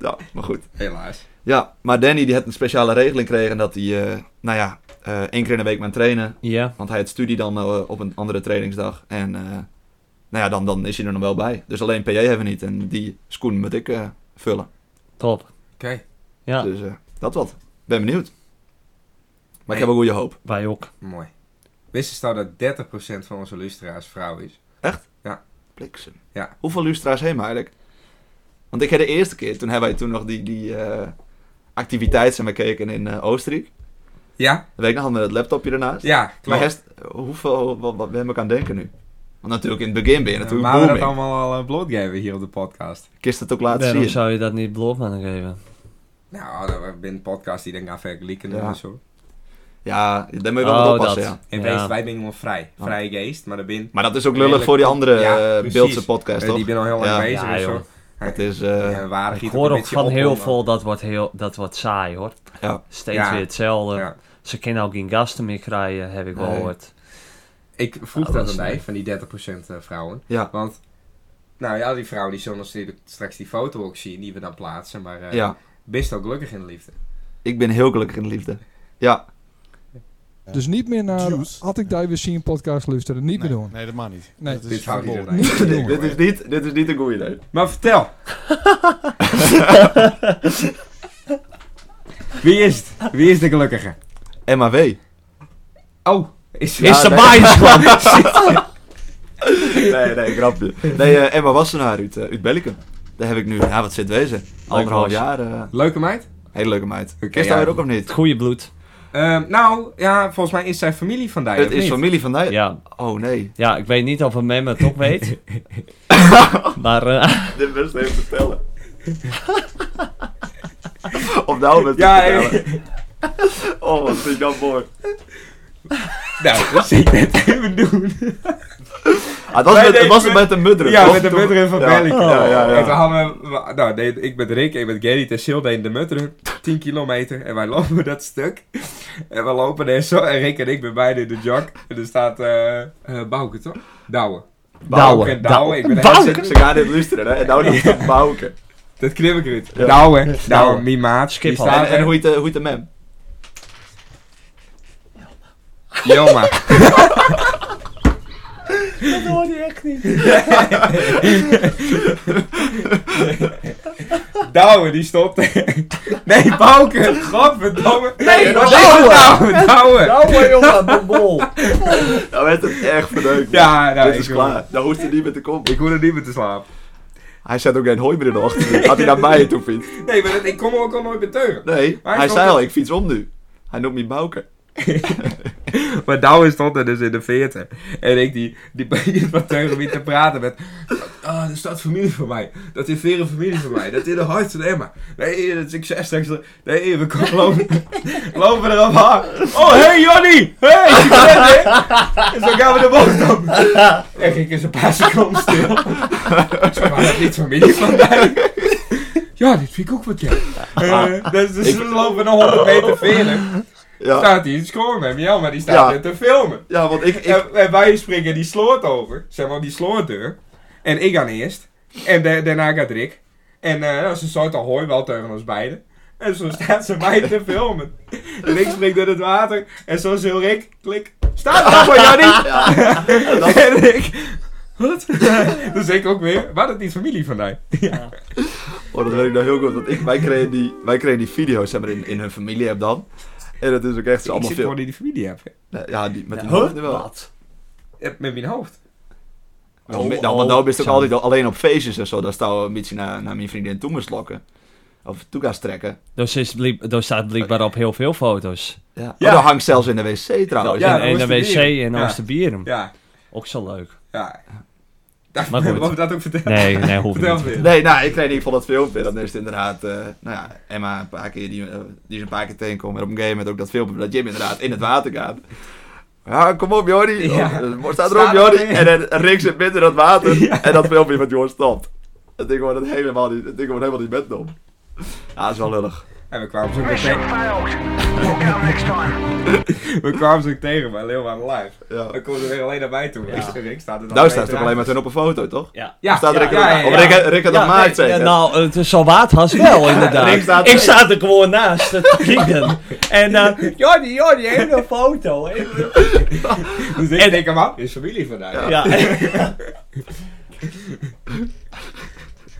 Ja, maar goed.
Helaas.
Ja, maar Danny die had een speciale regeling gekregen dat hij, eh, nou ja, eh, één keer in de week maar trainen.
Ja.
Want hij had studie dan eh, op een andere trainingsdag. En eh, nou ja, dan, dan is hij er nog wel bij. Dus alleen PJ hebben we niet. En die schoen moet ik eh, vullen.
top.
Oké.
Ja,
Dus eh, dat wat. Ben benieuwd.
Nee.
Maar ik heb een goede hoop.
wij ook.
Mooi. Wist je nou dat 30% van onze luisteraars vrouw is?
Bliksem.
Ja.
Hoeveel lustra's heen eigenlijk? Want ik heb de eerste keer, toen hebben wij toen nog die, die eh, activiteit zijn bekeken in eh, Oostenrijk.
Ja,
Dan weet ik nog hadden we het laptopje ernaast.
ja,
Maar
klopt.
Hest, hoeveel, wat, wat ben ik aan het denken nu? Want natuurlijk in het begin ben je
Eh,
natuurlijk
maar we dat
booming.
allemaal al eh, blootgeven hier op de podcast.
Kist het ook laten
Daarom
zien.
zou je dat niet bloot aan geven.
Nou, dat we binnen podcast die dan gaan vergelijken
Ja.
en zo.
Ja, daar moet je wel
Oh,
wat oppassen, ja.
In
Oh, Ja.
wezen, wij zijn wel vrij.
Ja.
Vrij geest, maar dat ben...
Maar dat is ook lullig
Redelijk
voor die
kom-
andere
Ja,
eh,
precies.
Beeldse podcast,
eh,
toch?
die ben al heel lang
Ja.
bezig
Ja,
en zo.
joh.
Het is... eh,
En waar giet
Ik
ook
hoor
een
ook
beetje
van
op,
heel
hoor,
veel, dat wordt, heel, dat wordt saai hoor.
ja.
Steeds
Ja.
weer hetzelfde.
maar- Ja.
Ze kunnen ook geen gasten meer krijgen, heb ik wel
Nee.
gehoord.
Ik vroeg
Oh, dat
dat
is
aan mij,
leuk.
van die 30% vrouwen.
Ja.
Want, nou ja, die vrouwen die zullen natuurlijk straks die foto ook zien die we dan plaatsen. Maar eh
ja,
best ook gelukkig in de liefde.
ik ben heel gelukkig in de liefde. Ja,
Dus niet meer naar
Juice.
had ik daar weer zien podcast luisteren. Niet
nee,
meer doen.
Nee, dat mag niet.
Nee.
dat
Dit
is
houdt
verboden.
iedereen.
Niet meer doen.
dit is niet, dit is niet een goede idee.
Maar vertel. Wie is het? Wie is de gelukkige?
MAW.
Oh, is,
Ja,
is de
nee.
baas gewoon?
Nee, nee, grapje. Nee, eh, Emma Wassenaar uit, eh, uit Bellicum. Daar heb ik nu, ja, wat zit wezen? Anderhalf
was.
jaar. eh,
Leuke meid?
hele leuke meid.
Oké,
Kist daar
ja.
weer ook of niet?
Het goede bloed.
Ehm, nou, ja, volgens mij is zijn familie van Dijen,
Het
of
is
niet?
familie van mij.
Ja.
Oh nee.
ja, ik weet niet of een mem het ook weet. maar eh,
Dit best even vertellen. of nou met
Ja,
vertellen. Oh, wat vind ik dat mooi.
Nou, dat zie ik net even doen.
Ah, het was,
Nee,
met,
nee,
het was
met-
met de mudderen.
Ja,
toch?
met de
Toen-
mutteren van
ja,
Bellingham.
Ja, ja,
En we
ja.
hadden, we- nou, nee, ik ben Rick, ik ben Gerry en Sil deden de mutteren. 10 kilometer. En wij lopen dat stuk. En we lopen daar zo. En Rick en ik ben beide in de jog. En er staat eh eh Bouke, toch? Douwe. Bouke en Douwe. Ik ben de hele
Ze, ze gaan dit luisteren, hè? En nou dan ja. bouwen.
zin- Dat knip ik eruit.
Ja.
Douwe. Douwe,
Douwe.
mijn maat.
Skip
Die
al.
staat
En, en
er.
hoe heet, eh, hoe heet de mem?
Joma.
dat hoor je echt niet.
Douwe, die stopt. nee, Bouke. Godverdomme.
Nee,
Dat is
Douwe.
Douwe. Douwe.
Nou, maar jongen, de bol.
Nou werd het echt verneukt. man.
Ja, nou,
dit
ik
is
wil-
klaar. Nou hoeft hij niet meer te komen.
Ik hoor er niet meer te slapen.
Hij zet ook geen hooi meer in de ochtend. Had hij naar mij toe fietst.
Nee, maar dat, ik kom er ook al nooit meer teugen.
Nee,
Maar hij
hij
stond
zei
er-
al, ik fiets om nu. Hij noemt me Bouke.
Maar Douwe stond er dus in de 40. En ik die, die begint wat tegen wie te praten met... Ah, dat is dat familie van mij. Dat is veren familie van mij. Dat is de hart van Emma. Nee, dat is ik zeg straks... Nee, we komen lopen, lopen erop aan. Oh, hey Johnny! Hey, ik ben er. En zo gaan we de bocht op. En ging ik eens een paar seconden stil. Ik zei, maar dat is niet familie van mij. Ja, dit vind ik ook wat jij. Eh, dus dus we lopen nog 100 meter verder.
Ja,
Staat hij in score met jou, maar die staat
Ja.
net te filmen.
ja want ik... ik
En, en wij springen die sloot over, zeg maar die slootdeur. En ik aan eerst. En da- daarna gaat Rick. En eh, nou, ze soort al hooi wel tegen ons beiden. En zo staat ze mij te filmen. En ik spring door het water. En zo zil Rick, klik. Staat daar voor jou niet? en ik... Wat? dus ik ook weer. Waar dat niet familie van mij?
Oh, dat weet ik nou heel goed. Want ik, wij, kregen die, wij kregen die video's zeg maar, in, in hun familie app dan. En dat is ook echt zo
Ik
allemaal
zit
veel.
gewoon in die familie heb.
Nee, Ja, die, met die
Huh?
hoofden wel.
Wat?
Met mijn hoofd.
Dan,
Oh,
dan, dan, want
oh,
nou ben je ook
zo.
altijd al- alleen op feestjes en zo. Dan staan we een beetje naar, naar mijn vriendin toe moest lokken. Of toe gaan strekken.
Dus, is blieb- dus staat blijkbaar op heel veel foto's.
Ja.
Ja.
Oh, dat hangt zelfs in de wc trouwens.
Ja,
en, en de wc
Oosterbieren.
in
Ja.
Oosterbieren.
Ja,
Ook zo leuk.
ja. Dat,
Maar goed.
Mag ik dat ook vertellen?
Nee, nee, hoeft
Vertel
niet.
weer.
Nee, nou, ik kreeg niet van dat filmpje. Dan is het inderdaad, eh, nou ja, Emma een paar keer, die, eh, die is een paar keer tegenkomen. En op een gegeven moment ook dat filmpje dat Jim inderdaad in het water gaat. Ja, kom op Jordi.
Ja.
Oh, staat
Staat
erop Jordi.
erin.
En dan Rick zit midden in dat water.
Ja.
En dat filmpje van Jordi stopt. Dat ding wordt helemaal niet, dat ding wordt helemaal niet met om. Ja, dat is wel lullig.
En we kwamen zo
Mission
tegen,
failed. We'll get 'em next time.
we kwamen zo tegen bij Leeuwarden Live.
Ja.
Dan komt er weer alleen naar mij toe. Ik, ik sta er dan
Nou staat het
toch
toch alleen maar toen op een foto, toch?
Ja.
Ja,
Staat
ja,
Rick, er-
ja, ja,
Of
ja.
Rick, Rick had
Ja,
dat maakt,
nee,
zeg.
ja, nou, het is zo waard was wel, inderdaad.
Rick staat-
ik sta er gewoon naast, het krieken. En dan, Jordi, Jordi, hele foto. even-
Dus ik
En-
denk, man, is familie vandaag. Ja.
Ja.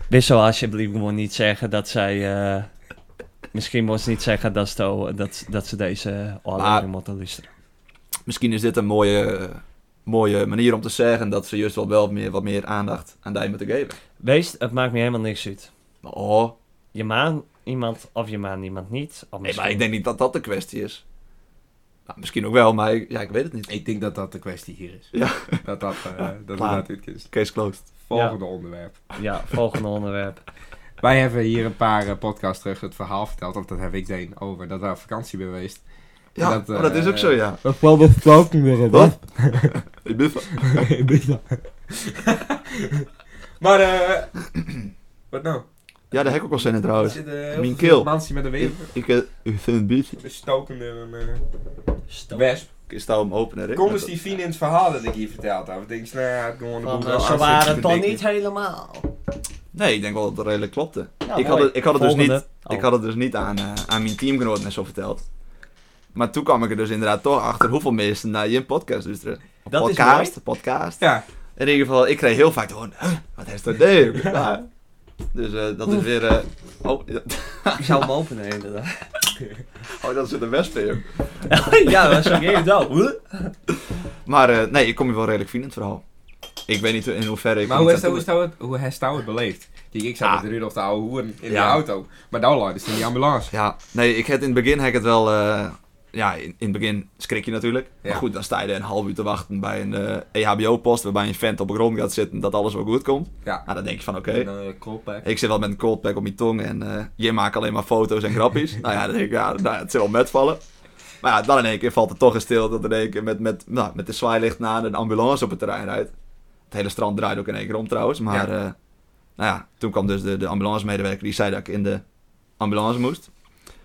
Wissel alsjeblieft gewoon niet zeggen dat zij... eh, misschien moest niet zeggen dat, ze to- dat, dat ze deze
Maar-
aflevering moeten luisteren.
Misschien is dit een mooie, mooie manier om te zeggen dat ze juist wel, wel meer, wat meer aandacht aan die moeten geven.
Wees, het maakt me helemaal niks uit.
Oh,
Je maan iemand of je maan iemand niet. Of
nee,
misschien...
maar ik denk niet dat dat de kwestie is. Nou, misschien ook wel, maar ik, ja, ik weet het niet.
Ik denk dat dat de kwestie hier is.
Ja.
Dat dat, eh dat,
klaar.
dat dit is.
Case closed.
Volgende onderwerp.
Ja, volgende onderwerp.
Wij hebben hier een paar eh, podcasts terug het verhaal verteld, of dat heb ik deed, over dat we op vakantie ben geweest.
Ja,
Dat,
dat,
eh,
dat is ook zo, ja.
Dat valt de verplaatsing weer op,
Wat? Ik ben van-
Maar, eh wat nou?
Ja, daar heb ik ook wel zin in
Er
trouwens.
zit eh,
Mijn
heel
Nou, keel.
veel mansie met een
Ik,
wever.
ik, eh, ik vind het biet.
Een stokende een, eh wesp.
Ik sta hem open en Rick.
Kom eens die fine in het verhaal dat ik hier verteld heb. Ik denk, nou ja, het gewoon de
eh,
Want
boel wel
eh, ze
aan
waren
zitten
het toch
bedenken.
niet helemaal.
Nee, ik denk wel dat het redelijk klopte.
Ja,
ik, had
mooi.
het, ik, had het dus
Volgende.
niet,
Oh.
ik had het dus niet aan, eh, aan mijn teamgenoot net zo verteld. Maar toen kwam ik er dus inderdaad toch achter hoeveel mensen naar je podcast luisteren.
Oh, Dat is
podcast, podcast.
Ja,
In ieder geval, ik kreeg heel vaak gewoon, "Huh, wat is dat nee? Ja. Dus eh, dat is weer, eh, oh, ja,
Ik zou hem openen inderdaad.
oh, dat zit een wesp in. joh.
ja, dat is ook even zo.
Maar eh, nee, ik kom je wel redelijk vriend in het verhaal. Ik weet niet in hoeverre ik...
maar
er
hoe
niet
is dat,
aan
hoe is
toe-
dat, het- hoe heeft dat het beleefd? Kijk, ik zat
Ah.
met Rudolf de oude hoer in
Ja.
de auto. Maar nou, Lord, is in die ambulance.
Ja, nee, ik had in het begin had ik het wel... eh, ja, in, in het begin schrik je natuurlijk.
Ja.
Maar goed, dan sta je er een half uur te wachten bij een eh, EHBO-post... waarbij een vent op de grond gaat zitten dat alles wel goed komt.
Ja.
Nou, dan denk je van, oké.
En dan eh, kop, hè.
Ik zit wel met een cold pack op mijn tong en eh, je maakt alleen maar foto's en grappies. nou ja, dan denk ik, ja, nou, ja, het zal wel metvallen. Maar ja, dan in één keer valt het toch eens stil dat in één keer met, met, nou, met de zwaailicht naar een ambulance op het terrein rijdt. Het hele strand draait ook in één keer om trouwens. Maar eh, nou ja, toen kwam dus de, de ambulancemedewerker die zei dat ik in de ambulance moest.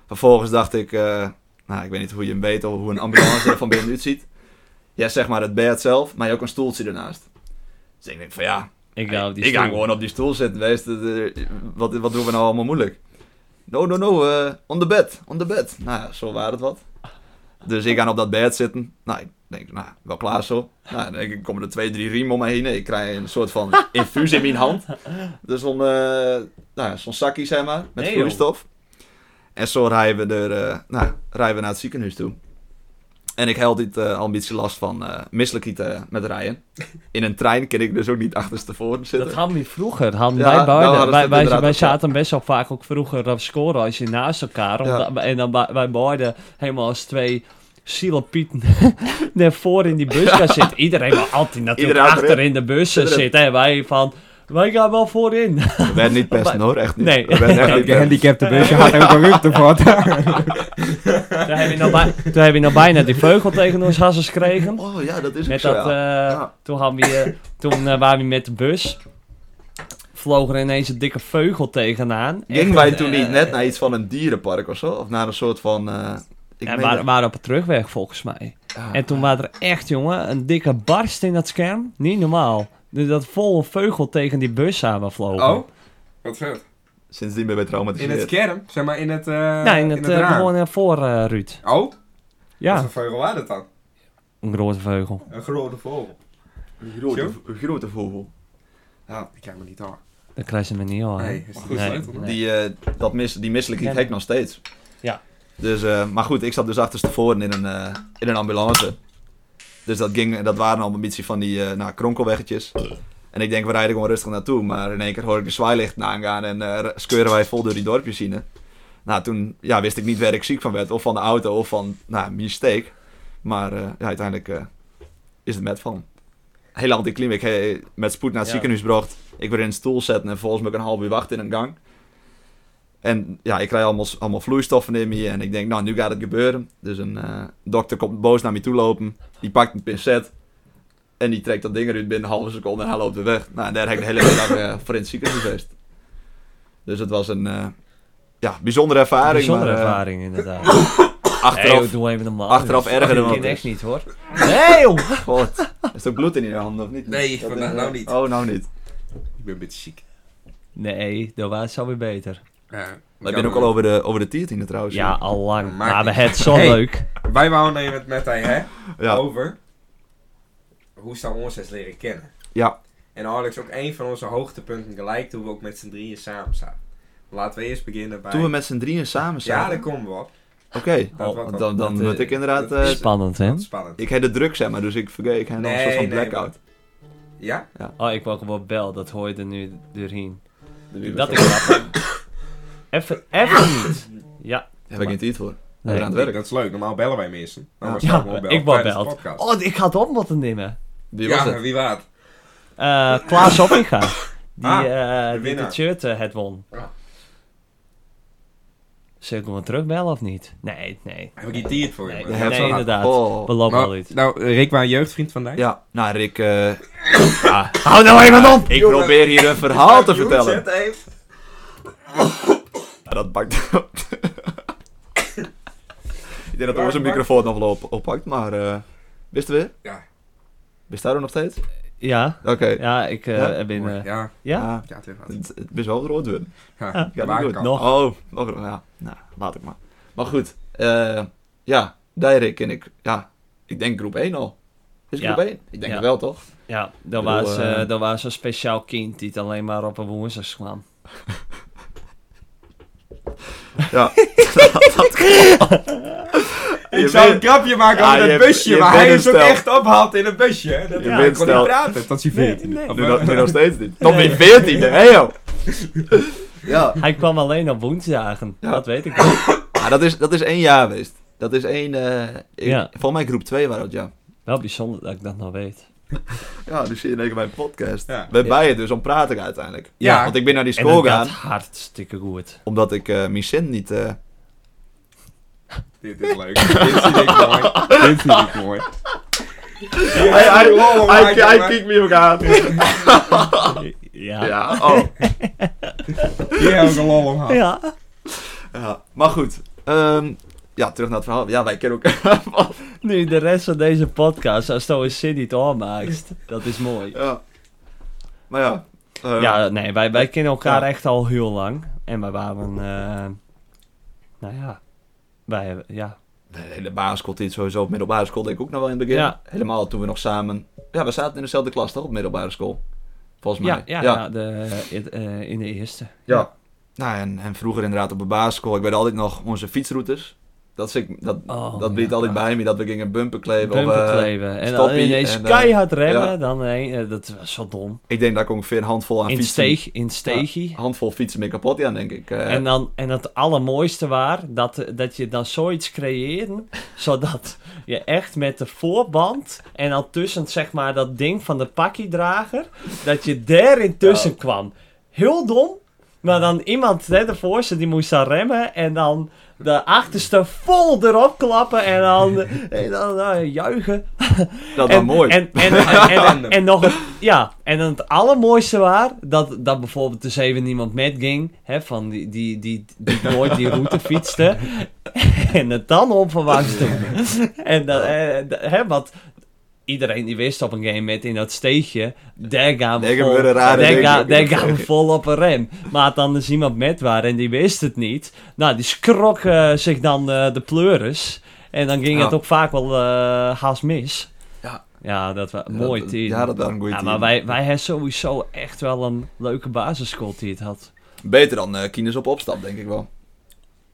Vervolgens dacht ik, eh, nou ik weet niet hoe je hem weet of hoe een ambulance er van binnen uitziet. Je hebt zeg maar het bed zelf, maar je hebt ook een stoeltje ernaast. Dus ik denk van ja,
Ik hou die
ik ga
stoel.
gewoon op die stoel zitten. Wees, het, eh, wat, wat doen we nou allemaal moeilijk? No, no, no. eh, on the bed. On the bed. Nou ja, zo waren het wat. Dus ik ga op dat bed zitten. Nou, ik denk, nou, wel klaar zo. Nou, dan denk ik, komen er twee, drie riemen om me heen. Ik krijg een soort van infuus in mijn hand. Dus zo'n, eh nou, ja, zo'n zakje, zeg maar,
Nee,
met
joh.
vloeistof. En zo rijden we, er, eh, nou, rijden we naar het ziekenhuis toe. En ik heb altijd eh, al een beetje last van eh misselijkheid eh, met rijden. In een trein kan ik dus ook niet achterstevoren zitten.
Dat hadden we vroeger. Hadden
Ja,
wij,
nou
beide.
hadden ze
wij,
het
wij,
inderdaad
wij
ook, ja.
zaten best wel vaak ook vroeger op scoren als je naast elkaar. omdat- en dan ba- wij beide helemaal als twee zielepieten naar voren in die bus gaan zitten. Iedereen wil altijd natuurlijk
Iedereen
achter in de bus
Iedereen.
zitten. En wij van, wij gaan wel voorin.
We werden niet pesten hoor, echt niet.
Nee.
We werden echt niet pesten.
gehandicapte busje had ook een rupte voor.
Toen hebben we nou, bij- toen hebben we nou bijna die vleugel tegen ons hasses gekregen.
Oh ja, dat is ook
Met
zo,
dat,
ja.
eh,
Ja.
Toen, hadden we, eh, toen eh, waren we met de bus. Vloog er ineens een dikke vleugel tegenaan.
Gingen
Echt,
wij toen
eh,
niet net naar iets van een dierenpark of zo? Of naar een soort van... eh, ik
En
meen
waren,
dat- Ah,
waren op het terugweg volgens mij.
Ja.
En toen waren er echt, jongen, een dikke barst in dat scherm. Niet normaal. Dus dat vol vleugel tegen die bus samenvlogen.
Oh, wat vet.
Sindsdien ben ik
In het
traumatiseerd.
scherm? Zeg maar in het, eh
Ja, in het, eh,
raam.
gewoon eh, voor, eh, Ruud.
Oh, wat
Ja,
voor vogel was dat dan?
een grote vleugel.
Een grote vogel.
Een grote, een grote vogel.
Ja, die kan me niet hoor.
Dat krijg je me niet hoor.
Nee, is het goed sleutel, hè?
Die, eh, dat mis, die misselijkheid
Ja.
heb ik nog steeds.
Ja.
Dus, eh, maar goed, ik zat dus achterstevoren in een, eh, in een ambulance. Dus dat, ging, dat waren allemaal een beetje van die eh nou, kronkelweggetjes. En ik denk, we rijden gewoon rustig naartoe. Maar in één keer hoor ik de zwaailichten aangaan en eh skeuren wij vol door die dorpjes heen. Nou, toen ja, wist ik niet waar ik ziek van werd. Of van de auto, of van, nou, mistake. Maar eh, ja, uiteindelijk eh, is het met van. heel anticlim. Ik eh, met spoed naar het
Ja.
ziekenhuis bracht. Ik werd in een stoel zetten en volgens mij ook een half uur wachten in een gang. En ja, ik krijg allemaal, allemaal vloeistoffen in me en ik denk, nou, nu gaat het gebeuren. Dus een eh, dokter komt boos naar me toe lopen. Die pakt een pincet en die trekt dat ding eruit binnen een halve seconde en hij loopt weer weg. Nou, en daar heb ik de hele middag eh, voor in het ziekenhuis geweest. Dus het was een eh, ja, bijzondere ervaring.
Bijzondere
maar, eh,
ervaring, inderdaad.
Achteraf,
Nee, doe even normaal.
achteraf erger dan
Ik
wat
ken
is.
echt niet, hoor. Nee, joh!
Wat? Is er bloed in je handen of niet?
Nee,
Dat
vandaag
is-
nou niet.
Oh, nou niet.
Ik ben een beetje ziek.
Nee, dat was alweer beter.
Ja,
Maar ik ben ook al over de, over de tiertiende trouwens.
Ja, al lang.
Maakt
Maar we
niet.
hebben het zo
Hey.
leuk.
Wij wouden even het met hij, hè?
Ja,
Over hoe ze ons eens leren kennen.
ja.
En Alex ook een van onze hoogtepunten gelijk toen we ook met z'n drieën samen zaten. Laten we eerst beginnen bij...
Toen we met z'n drieën samen
Ja,
zaten.
daar komen we op.
Oké,
Dat wordt
Oh, dan, dan
dat,
word
eh,
ik inderdaad...
dat
eh,
is-
Spannend, hè?
Spannend.
ik heb de druk, zeg maar, dus ik vergeet. Ik heb nog een
Nee,
soort van
nee,
blackout.
Ja?
Oh, ik wou gewoon bel. Dat hoor je er nu doorheen.
Daar
Dat is grappig. Even, even niet. Ja.
heb ik niet tijd voor.
Nee.
We zijn aan het werk.
Dat is leuk. Normaal bellen wij mensen. Normaal
Ja,
zou gewoon bellen
ik wou
tijdens de
belt.
podcast.
Oh, ik had op wat te nemen.
Wie was
ja,
het?
wie waard?
Eh Klaas Oppinga. Die,
Ah, de
eh, die
winnaar.
de shirt eh, het won.
Ja.
Zul ik hem wel terugbellen of niet? Nee, nee.
Heb ik die het voor
Nee,
je?
De
man?
nee,
Herzog.
inderdaad.
Oh.
We lopen al
Nou,
uit.
nou, Rick was een jeugdvriend vandaag.
Ja, nou Rick, eh, ja,
Hou nou even op!
ik probeer hier een verhaal te vertellen. Ja, dat pakt. ik denk dat onze microfoon nog wel op, oppakt, maar. eh wist er weer?
Ja.
Wist daar ook nog steeds? Oké.
Ja, ja, ik eh,
Ja?
ben... eh,
Ja,
ja?
Ah,
ja, het is wat.
het, het is wel rood worden.
Ja,
Ja,
waar
niet
kan.
goed.
Nog.
Oh, nog rood, ja. Nou, laat ik maar. Maar goed, eh, ja, Dijrik en ik, ja, ik denk groep 1 al. Is
Ja.
groep 1? Ik denk
Ja.
het wel, toch?
Ja, dat
bedoel,
was,
eh,
eh, dat was een speciaal kind die het alleen maar op een woensdag kwam.
Ja.
Ik zou een grapje maken
Ja,
over dat
je hebt-
busje,
je
maar
bent
hij
een
is ook
stel.
echt ophaald in een busje. hè. Dat
Je
ja,
bent
ik kon niet
stel.
praten tot hij 14
nee.
Of,
Nu,
eh,
nog- nu nog steeds niet. Nog niet 14, hè joh! Ja,
Hij kwam alleen op woensdagen,
Ja.
dat weet ik wel.
Ah, dat, is, dat is één jaar geweest. Dat is één... eh, ik-
Ja.
Volgens mij groep 2 waren dat, ja.
Wel bijzonder dat ik dat nog weet.
Ja, dus zie je in mijn podcast.
Ja.
Ben bij je dus om praat ik uiteindelijk.
Ja.
Want ik ben naar die
En
school
dat
gegaan,
gaat hartstikke goed.
omdat ik eh mijn zin niet... eh,
Dit is leuk. Dit vind ik mooi. Dit vind ik mooi.
Hij, hij,
Wow,
hij,
maak je
hij
maar.
kijkt me ook aan.
Ja.
Ja, oh.
Hier heb ik een lol om gehad.
Ja.
Ja, maar goed. Ehm, ja, terug naar het verhaal. Ja, wij kennen elkaar. van-
Nu, de rest van deze podcast, als je een zin niet aanmaakt, dat is mooi.
ja. Maar ja. eh,
Ja, nee, wij, wij kennen elkaar
Ja.
echt al heel lang. En wij waren, eh, nou ja, wij, hebben- ja,
De hele basisschooltijd sowieso. Op middelbare school denk ik ook nog wel in het begin.
Ja.
Helemaal toen we nog samen... Ja, we zaten in dezelfde klas toch? Op middelbare school. Volgens
ja,
mij.
ja, ja, de, in- eh, in de eerste.
Ja. Nou, en, en vroeger inderdaad op de basisschool. Ik weet altijd nog onze fietsroutes. Dat, zit- dat,
Oh,
dat bleef
ja.
altijd bij me. Dat we gingen bumper kleven. of,
Bumper
eh,
kleven. En dan
stoppie
ineens
en, eh,
keihard remmen,
ja.
dan nee, eh, dat was zo dom.
ik denk dat ik ongeveer een handvol aan
In
fietsen...
steeg, in steegie.
handvol fietsen mee kapot, ja, denk ik. Eh,
En, dan, en het allermooiste waar, dat, dat je dan zoiets creëerde, zodat je echt met de voorband en dan tussen zeg maar dat ding van de pakkiedrager, dat je daar intussen kwam. Heel dom, maar dan iemand, hè, de voorste, die moest dan remmen en dan de achterste vol erop klappen en dan, en dan eh, juichen.
dat was
En,
mooi.
En, en, en, en, en- en nog het, ja, en dan het allermooiste waar, dat, dat bijvoorbeeld dus even niemand met ging, hè, van die, die, die, die nooit die route fietste, en het dan onverwachts doen. En dat, eh, dat- hè, want iedereen die wist op een game met in dat steegje, daar gaan we
Daar
vol,
gebeuren rare
daar
dingen
ga-
in dat
daar gaan we
steegje.
vol op een rem. Maar dan is iemand met waar en die wist het niet, nou, die skrok eh, zich dan eh, de pleuris. En dan ging
Ja.
het ook vaak wel eh haast mis.
Ja.
Ja, dat was
Ja,
mooi
dat-
team.
Ja, dat was een goede
Ja,
team.
maar wij, wij hebben sowieso echt wel een leuke basisschool die het had.
Beter dan eh Kines op opstap, denk ik wel.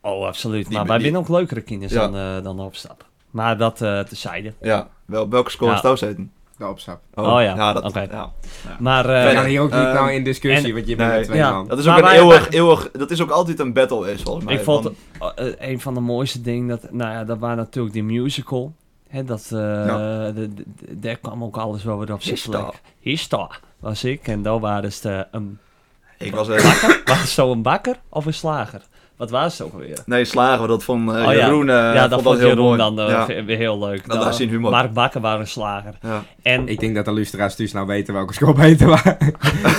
Oh, absoluut.
Die-
maar wij
die-
winnen ook leukere kinderen
Ja.
dan, eh dan opstap. Maar dat eh tezijde.
Ja. Wel, welke school
Ja.
is Toos heten?
De opstap.
Oh ja,
dat,
oké.
ja.
Maar
We
eh,
gaan hier ook niet
Ehm,
nou in discussie,
en-
want je
Nee.
bent met twee
Ja.
man.
Dat is
Maar
ook een
wij-
eeuwig, eeuwig... Dat is ook altijd een battle is, volgens mij.
ik vond
Want-
eh, eh, een van de mooiste dingen, dat, nou ja, dat waren natuurlijk die musical. Hè, dat, eh, de- de- de- daar kwam ook alles wel weer op zijn
Hista.
plek. Hista was ik en daar waren ze eh, een,
Ik was... eh
was het zo een bakker of een slager? Wat was het ook alweer?
nee, slagen we dat van eh
Oh ja.
Jeroen. eh,
ja, dat vond
heel
Jeroen
mooi.
dan eh,
Ja.
weer heel leuk.
Dat
Dan,
was zijn humor.
Mark Bakker was een slager.
Ja.
En
Ik denk dat de luisteraars dus nou weten welke scoop beter waren.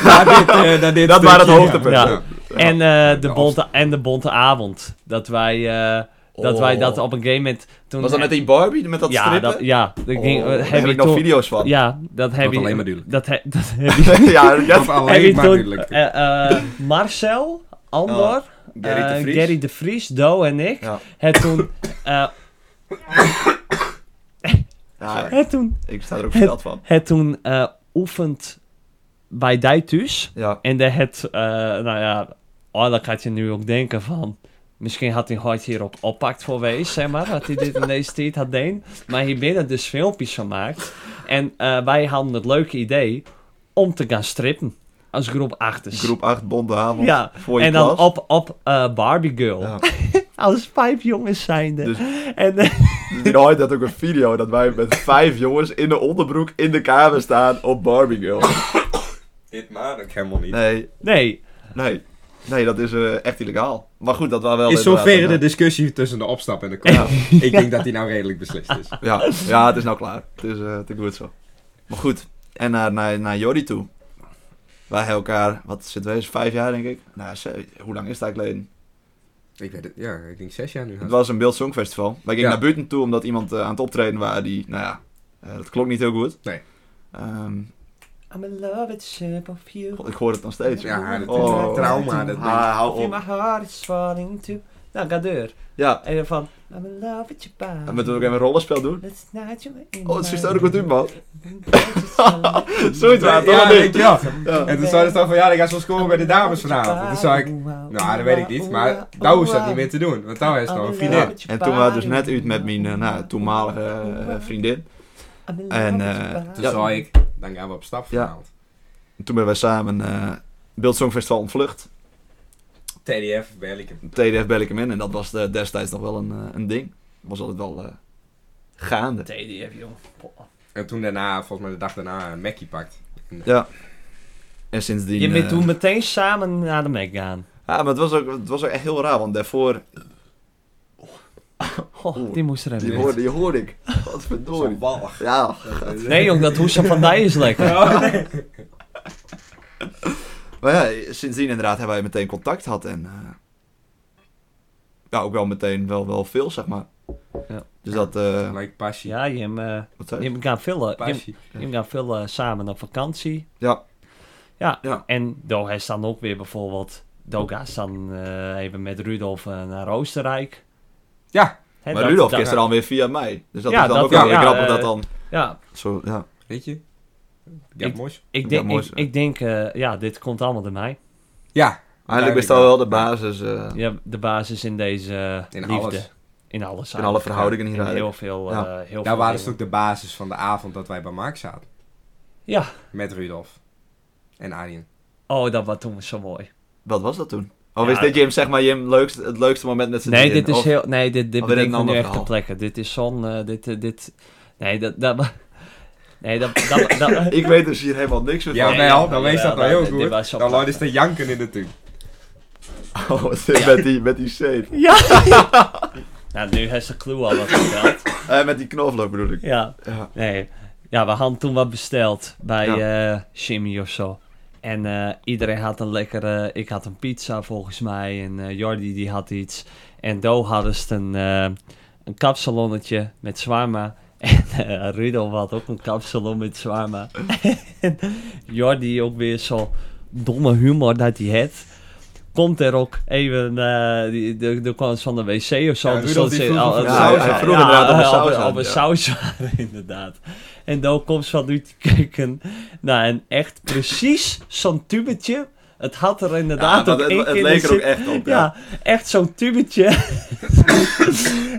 Na dit, eh, na dit
Dat waren het
stukje,
hoogtepunt.
ja.
Ja.
Ja.
En, eh, de
Ja,
bonte, en de bonte avond. Dat wij, eh, dat, wij dat op een gegeven moment... Toen
Oh. Was dat met die Barbie? Met dat
ja,
strippen?
dat, ja, dat ging,
Oh,
heb
daar heb
je
ik nog
toen-
video's van.
Ja, dat heb
Wordt
je...
alleen maar duidelijk.
Dat, he, dat heb je...
ja, ja.
Of
heb je
alleen maar
toen,
duidelijk. Oh,
eh, eh, Marcel, Andor, eh,
Gerrit de Vries.
Gerry de Vries, Do en ik.
Ja.
Het toen... eh,
Ja,
het toen,
ik sta er ook versteld van.
het toen eh, oefend bij Dijtus.
Ja.
En de het, eh, nou ja, oh, dan gaat je nu ook denken van. Misschien had hij ooit hierop oppakt voor wees, zeg maar. Dat hij dit in deze tijd had deen. Maar hier binnen dus filmpjes van maakt. En eh, wij hadden het leuke idee om te gaan strippen. Als groep achters.
Groep 8, bonde avond.
ja.
Voor je
En dan
klas.
op, op eh, Barbie Girl.
Ja.
Als pijpjongens zijnde.
Dus-
En eh,
Dus die Roy had ook een video dat wij met vijf jongens in de onderbroek in de kamer staan op Barbie Girl.
Dit maak ik helemaal niet.
Nee,
nee.
nee. Nee, dat is eh, echt illegaal. Maar goed, dat was wel...
Is
inderdaad
zover de
een-
discussie tussen de opstap en de kwam. Ik denk dat die nou redelijk beslist is.
eh, Ja, ja, het is nou klaar. Het is eh, te goed zo. Maar goed, en naar, naar, naar Jordi toe. Wij elkaar, wat zitten we eens, vijf jaar denk ik? Nou, ze- hoe lang is dat geleden?
Ik weet het, ja, ik denk zes jaar nu.
Het was een Beeld Songfestival. Wij gingen
Ja.
naar buiten toe omdat iemand eh, aan het optreden was die, nou ja, eh, dat klonk niet heel goed.
Nee.
Ehm,
I'm in love with the shape of you.
god, ik hoor het nog steeds.
Ja, dat is
Oh.
een trauma. Dat
Ah, hou
If my
op.
heart is falling to... Nou, ga deur.
Ja,
En dan van... I'm in love with your body.
en moeten we ook even een rollenspel doen?
Let's not you in
Oh, het
my
is zo goed doen, man.
mind.
Zoiets waar, toch?
ja,
of niet?
weet je wel.
Ja.
En toen zei ze dan van, ja, ik ga zo scoren bij de dames vanavond. En toen zei ik, nou, dat weet ik niet. Maar nou is dat niet meer te doen. Want nou is het nog een vriendin.
Ja, En toen waren we dus net uit met mijn eh, nou, toenmalige eh, vriendin. En, eh,
Toen
Ja.
zei ik, dan gaan we op stap vanavond.
En toen hebben wij samen eh Beeld Songfestival ontvlucht.
TDF, Berlikum.
TDF bel ik hem in en dat was eh, destijds nog wel een, eh, een ding. Was altijd wel eh, gaande.
TDF, jong.
En toen daarna, volgens mij de dag daarna, een Mackie pakt.
En sindsdien...
Je bent
eh,
toen meteen samen naar de Mac gaan.
Ja, maar het was, ook, het was ook echt heel raar, want daarvoor...
Goh, die moest er
Die
hebben.
hoorde, die hoorde ik. Wat verdorie.
ballig.
Ja,
Nee, jong, dat hoesje van Dij is lekker.
maar ja, sindsdien inderdaad hebben wij meteen contact gehad en... eh, ja, ook wel meteen wel, wel veel, zeg maar.
Ja.
Dus dat... eh,
Like passie.
Ja, Jim, eh,
wat zei je?
Jim gaan veel, eh, Jim,
Passie.
Jim gaan veel eh, samen op vakantie.
Ja.
Ja,
Ja.
en Do hij dan ook weer bijvoorbeeld... Do gaat dan eh, even met Rudolf eh, naar Oostenrijk.
Ja.
Hè,
Maar
dat-
Rudolf
dat-
is er alweer via mij. Dus dat
Ja,
is dan
dat-
ook wel weer
ja,
grappig
eh,
dat dan...
Ja,
Zo, ja.
Weet je? Ja,
Ik-
moois.
Ik
Ja,
denk,
mooi
ik,
zo.
ik denk eh, ja, dit komt allemaal door mij.
Ja.
Eigenlijk is dat wel de basis eh,
Ja, de basis in deze eh,
In
liefde.
alles.
In alles.
in alle
eigenlijk.
verhoudingen
In
hier eigenlijk.
heel veel. eh,
Ja.
heel
Daar
veel
waren ze
dingen.
ook de basis van de avond dat wij bij Mark zaten.
Ja.
Met Rudolf. En Arjen.
Oh, dat was toen zo mooi.
Wat was dat toen? Oh,
Ja,
is dit Jim, zeg maar, Jim, leukst, het leukste moment met z'n
Nee,
drieën?
dit is
Of-
heel. Nee, dit, dit
Oh, weer
bedenk
een
ik me nu
ander
echt ter
verhaal.
plekke. Dit is zo'n. eh, dit, eh, dit. Nee, dat. dat nee, dat. dat, dat,
Ik weet dus hier helemaal niks van.
Ja,
Nee,
wel,
ja,
dan wees dat
jawel,
wel heel
dat- dit was
goed.
zo
Dan
prachtig.
Lloyd is te janken in de tuin.
Oh, wat zit met die, met die zeep.
nou, nu heeft ze clue al wat verteld.
Eh, met die knoflook bedoel ik.
ja.
Ja.
Nee. Ja, we hadden toen wat besteld bij eh
Ja.
Jimmy of zo. En eh, iedereen had een lekkere... Ik had een pizza volgens mij. En eh, Jordi die had iets. En Do hadden ze een, eh, een kapsalonnetje met zwarma. En eh Rudolf had ook een kapsalon met zwarma. en Jordi ook weer zo domme humor dat hij had. Komt er ook even... eh die, de, de kwam eens van de wc of zo.
Ja,
Er
Rudolf
stond
die
ze-
vroeg
al-
of
Ja,
al-
hij- hij vroeg inderdaad of er
eh,
saus
op-
aan,
op een
ja.
saus waren, inderdaad. En dan komt ze vanuit te kijken naar een echt precies zo'n tubetje. Het had er
Ja,
inderdaad
dat,
ook één
het, het
keer
leek er ook
zit-
echt op. Ja.
ja, echt zo'n tubetje.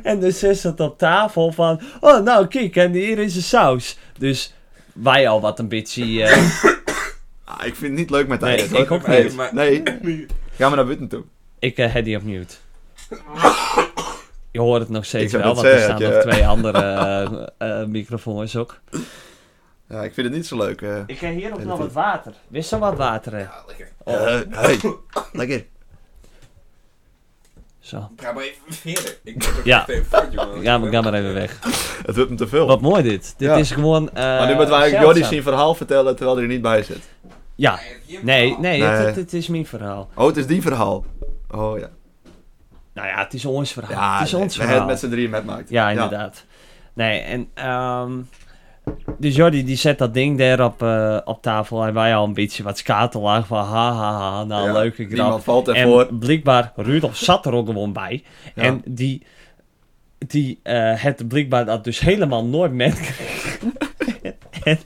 en dus is het op tafel van... Oh, nou, kijk, en hier is de saus. Dus wij al wat een beetje... eh,
Ah, ik vind het niet leuk met
Nee,
hij.
ik ook
nee,
niet, maar-
Nee. Ga maar naar buiten toe.
ik eh, had die op mute. je hoort het nog steeds
Ik zou
wel,
net
want er
zeggen,
staan nog
ja.
twee andere eh, eh, microfoons ook.
Ja, ik vind het niet zo leuk. eh.
Ik heb hier ook
Weet
nog wat
het
water. Wist zo wat water, hè?
Eh, hey. Lekker.
Zo.
Ga maar even verder. Ik heb
Ja.
een fout, jongen.
Ja, maar ik ga maar even weg.
Het wordt hem te veel.
Wat mooi dit. Dit
Ja.
is gewoon... eh,
maar nu moeten we eigenlijk Jordi
zeldzaam.
zijn verhaal vertellen terwijl hij er niet bij zit.
Ja. Nee, nee, Het,
Nee.
het- het is mijn verhaal.
Oh, het is die verhaal. Oh ja.
Nou ja, het is ons verhaal.
Ja,
het is ons
we hebben
verhaal.
het met z'n drieën met maakt.
Ja, inderdaad. Nee, en... ehm dus Jordi die zet dat ding daar op, eh, op tafel en wij al een beetje wat skatelaag van ha ha ha, nou
Ja,
leuke grap.
Niemand valt ervoor.
En blijkbaar, Rudolf zat er ook gewoon bij.
Ja.
En die, die eh het blijkbaar dat dus helemaal nooit met. en,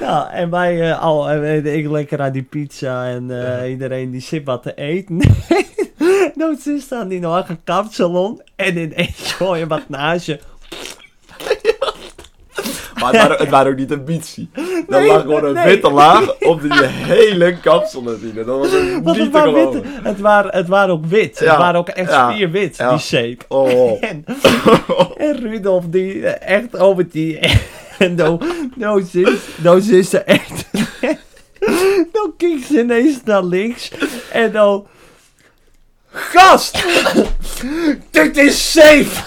ja, en wij eh, al, en weet ik lekker aan die pizza en eh, iedereen die zit wat te eten. nou, ze staan in een kapsalon en ineens gooi je wat naast je.
Maar het waren, het waren ook niet ambitie. Er
Nee,
lag gewoon een
nee.
witte laag op die hele kapsel natuurlijk. Dat was echt
Want
niet
het
te
waren,
geloven.
wit, het, waren, het waren ook wit.
Ja,
Het waren ook echt
ja,
spierwit,
ja.
die zeep.
Oh,
En, en Rudolf die eh, echt over die... En nou, nou zit, nou zit ze echt... Nou kijkt ze ineens naar links en nou dan... Gast! Dit is safe!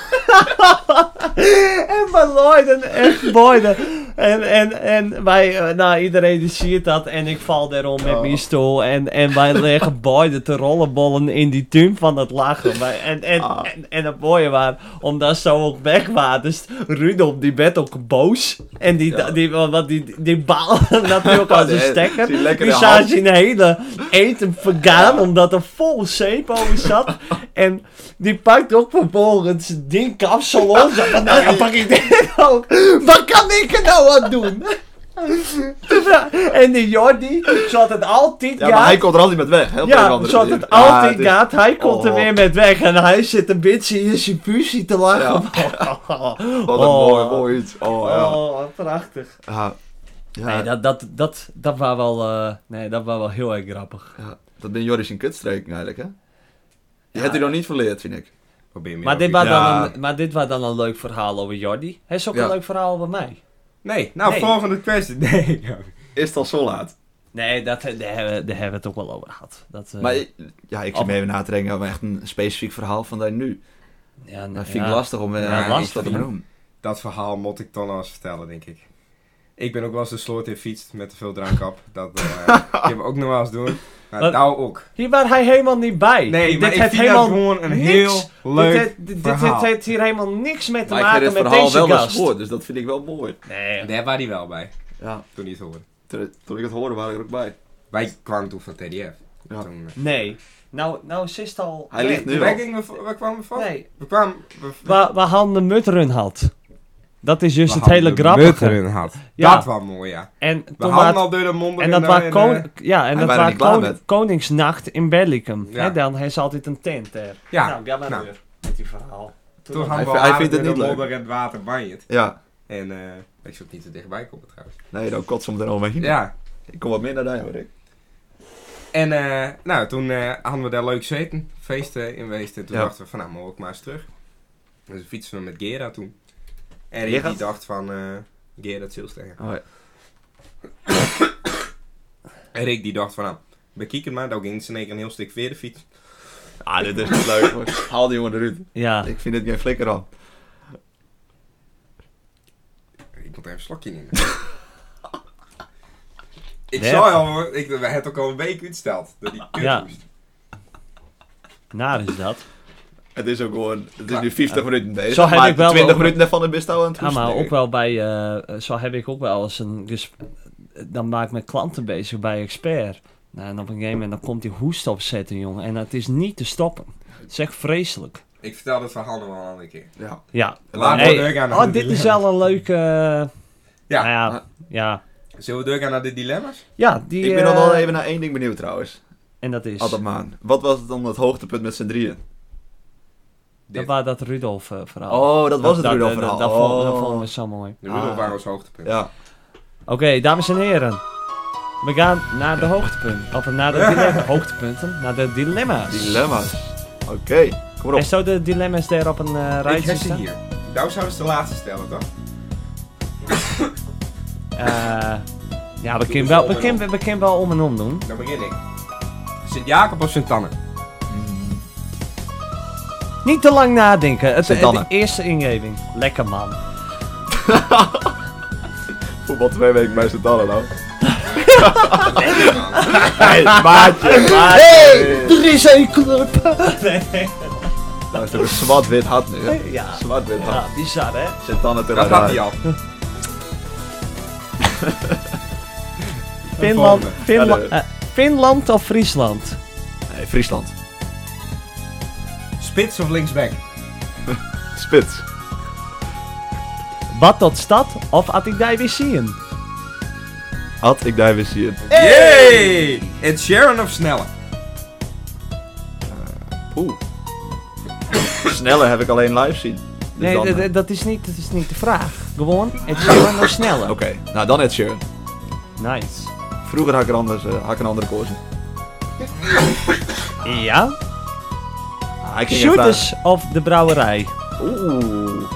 en wij Lloyden, echt Lloyden. En, en, en wij, eh, nou iedereen die ziet dat en ik val daarom
Oh.
met mijn stoel. En, en wij leggen beide te rollenbollen in die tuin van het lachen. Wij- en, en,
Ah.
en, en het mooie was, omdat ze ook weg waren, dus Rudolf die werd ook boos. En die,
Ja.
die, want die, die, die baalde natuurlijk aan zijn
Nee,
stekker.
die lekkere
Die zag
hand.
zijn hele eten vergaan, omdat er vol zeep over zat. en die pakt ook vervolgens het ding kapsalon. Zo van, nou ja, pak ik dit ook. Wat kan ik er nou aan doen? en die Jordi, zoals het altijd
ja, maar
gaat-
hij komt er altijd met weg. Heel
ja, zoals het altijd gaat, hij komt er
Oh.
weer met weg. En hij zit een beetje in zijn fusie te lachen.
Wat een
Oh.
mooi, mooi iets. Oh, ja.
Oh, wat prachtig.
Ja. Ja,
Nee,
dat...
dat, dat, dat, dat was wel, eh, nee, dat was wel heel erg grappig.
ja, dat ben Joris in kutstreken eigenlijk, hè? Je hebt hij nog niet verleerd, vind ik.
Probeer meer
Maar dit,
op die-
was dan
Ja.
een, maar dit was dan een leuk verhaal over Jordi. Hij is ook
Ja.
een leuk verhaal over mij.
Nee, nou,
Nee.
volgende kwestie. Nee.
Is het al zo laat?
Nee, dat, daar, hebben, we- daar hebben we het ook wel over gehad. Dat, eh,
Maar ik- ja, ik zit me even na te denken over echt een specifiek verhaal van daar nu.
ja, nou
Dat vind ik
ja.
lastig om eh,
Ja,
iets
lastig,
van te
hè?
benoemen.
Dat verhaal moet ik dan al eens vertellen, denk ik. Ik ben ook wel eens de sloot in fietst met te veel drank op. Dat eh kunnen we ook nog wel eens doen. Nou,
Wat?
nou ook.
Hier was hij helemaal niet bij.
Nee, maar
dit
ik
heeft
vind
helemaal
dat gewoon een
niks-
heel leuk
dit, dit, dit, dit
verhaal.
heeft hier helemaal niks mee te
Maar ik vind
maken
het
met
verhaal
deze
wel eens
gast.
gehoord, dus dat vind ik wel mooi.
Nee,
Daar was hij wel bij,
Ja,
toen hij het hoorde.
toen toen ik het hoorde, waren ik er ook bij.
Wij kwamen toen van TDF.
Ja.
Toen, eh,
nee. Nou, nou is het al...
Hij
nee.
ligt nu
Waar,
al.
gingen we, voor- waar kwamen we van?
Nee,
We kwamen... We,
waar, waar Han de Mutrun had. Dat is dus
we
het hele
hadden
grappige.
Mutteren had.
Ja.
Dat was mooi, ja.
En
We
toen
hadden
was-
al door de eh, mond
En dat was koning, ja, en
Hij
dat
waren
was
niet klaar
koning-
met.
Koningsnacht in Bellicum.
Ja.
Hè, dan heeft ze altijd een tent daar.
Ja,
Nou, ga maar
nou.
weer met die verhaal. Toen
Toen
dan-
hadden we
hij
al
vindt het
door de
niet leuk.
modder en het water banjet.
Ja,
En eh ik zat niet te dichtbij komen trouwens.
nee, dan kot ze meteen over me heen.
Ja.
Ik kom wat meer naar jou, Rick.
En eh, nou, toen eh, hadden we daar leuk zeten, feesten in geweest. En toen
Ja.
dachten we van, nou, mogen we ook maar eens terug. Dus fietsen we met Gera toen. En die,
Gerard?
die dacht van, eh Gera Zilstegen.
Oh, ja.
En Rick die dacht van, nou, bekijk het maar. Daar ging ze in één keer een heel stuk weer de fiets.
Ah, dit is niet leuk. hoor. Haal die jongen eruit.
Ja,
Ik vind dit geen flikker aan.
Ik moet even een slokje nemen. ik
Ja.
zou al, hoor, ik, we hebben het ook al een week uitgesteld. Dat die kut
Ja.
moest.
naar is dat.
Het is ook gewoon, het is nu 50 minuten bezig.
Zo heb
maar
ik wel
20
ook-
minuten daarvan en best al aan het
Ja, maar
hoesten.
ook wel bij, eh, zo heb ik ook wel eens een gesp- dan maak ik mijn klanten bezig bij expert. Nou, en op een gegeven moment dan komt die hoest opzetten, jongen. En het is niet te stoppen. Het is echt vreselijk.
Ik vertel dat verhaal nog wel een andere keer.
Ja.
Ja.
Ah,
Laten we
Hey,
doorgaan naar
oh,
de
dit is
dilemma's.
wel een leuke...
Ja.
ja. Nou ja, ja.
Zullen we doorgaan naar de dilemma's?
Ja, die...
Ah. Ik ben nog
eh,
wel even Oh, naar één ding benieuwd trouwens.
En dat is...
Adam Maan. Wat was het dan het hoogtepunt met z'n drieën?
Dat
Dit.
was dat Rudolf eh, verhaal.
Oh, dat was het
dat,
Rudolf
dat-
verhaal.
Dat, dat vond- dat
Oh.
vonden we zo mooi.
De Rudolf
Ah.
waren ons hoogtepunt.
Ja.
Oké, dames en heren. We gaan naar de hoogtepunten. Of naar de dilemma. Hoogtepunten, naar de dilemma's.
Dilemma's. Oké. Kom maar op.
En zo de dilemma's daar op een eh
ik
rijtje
heb ze
staan?
hier. Nou zouden ze de laatste stellen, toch?
Eh, ja, we kunnen wel, we kunnen- we kunnen wel om en om doen.
Dan begin ik. Sint-Jacob of Sint-Anne?
Niet te lang nadenken. Het,
Sint-Anne.
het- de eerste ingeving. Lekker man.
Voetbal twee weken bij sint Allen nou. hey, maatje, maatje. Eh.
Er is een club.
Nou, het is ook een zwart-wit hart nu. hè?
Ja.
Zwart-wit hart.
Ja, bizar hè.
Zit dan het
Dat had hij al.
Finland,
volgende.
Finland,
Ja, de-
eh, Finland of Friesland?
Nee, Friesland.
Spits of linksback?
Spits.
Wat tot stad of Attigdij weer zien?
Had ik daar weer zien.
Yay! Ed Sharon of Snelle?
Oeh. Sneller heb ik alleen live zien. Dus
Nee,
dan-
dat- dat- dat is, niet, dat is niet de vraag. Gewoon, het is gewoon nog sneller.
Oké, nou dan Ed Sheeran.
Nice.
Vroeger had ik, er anders, eh, had ik een andere kozen.
Ja?
Ah, ik ging
Shooters of de brouwerij?
even- Oeh.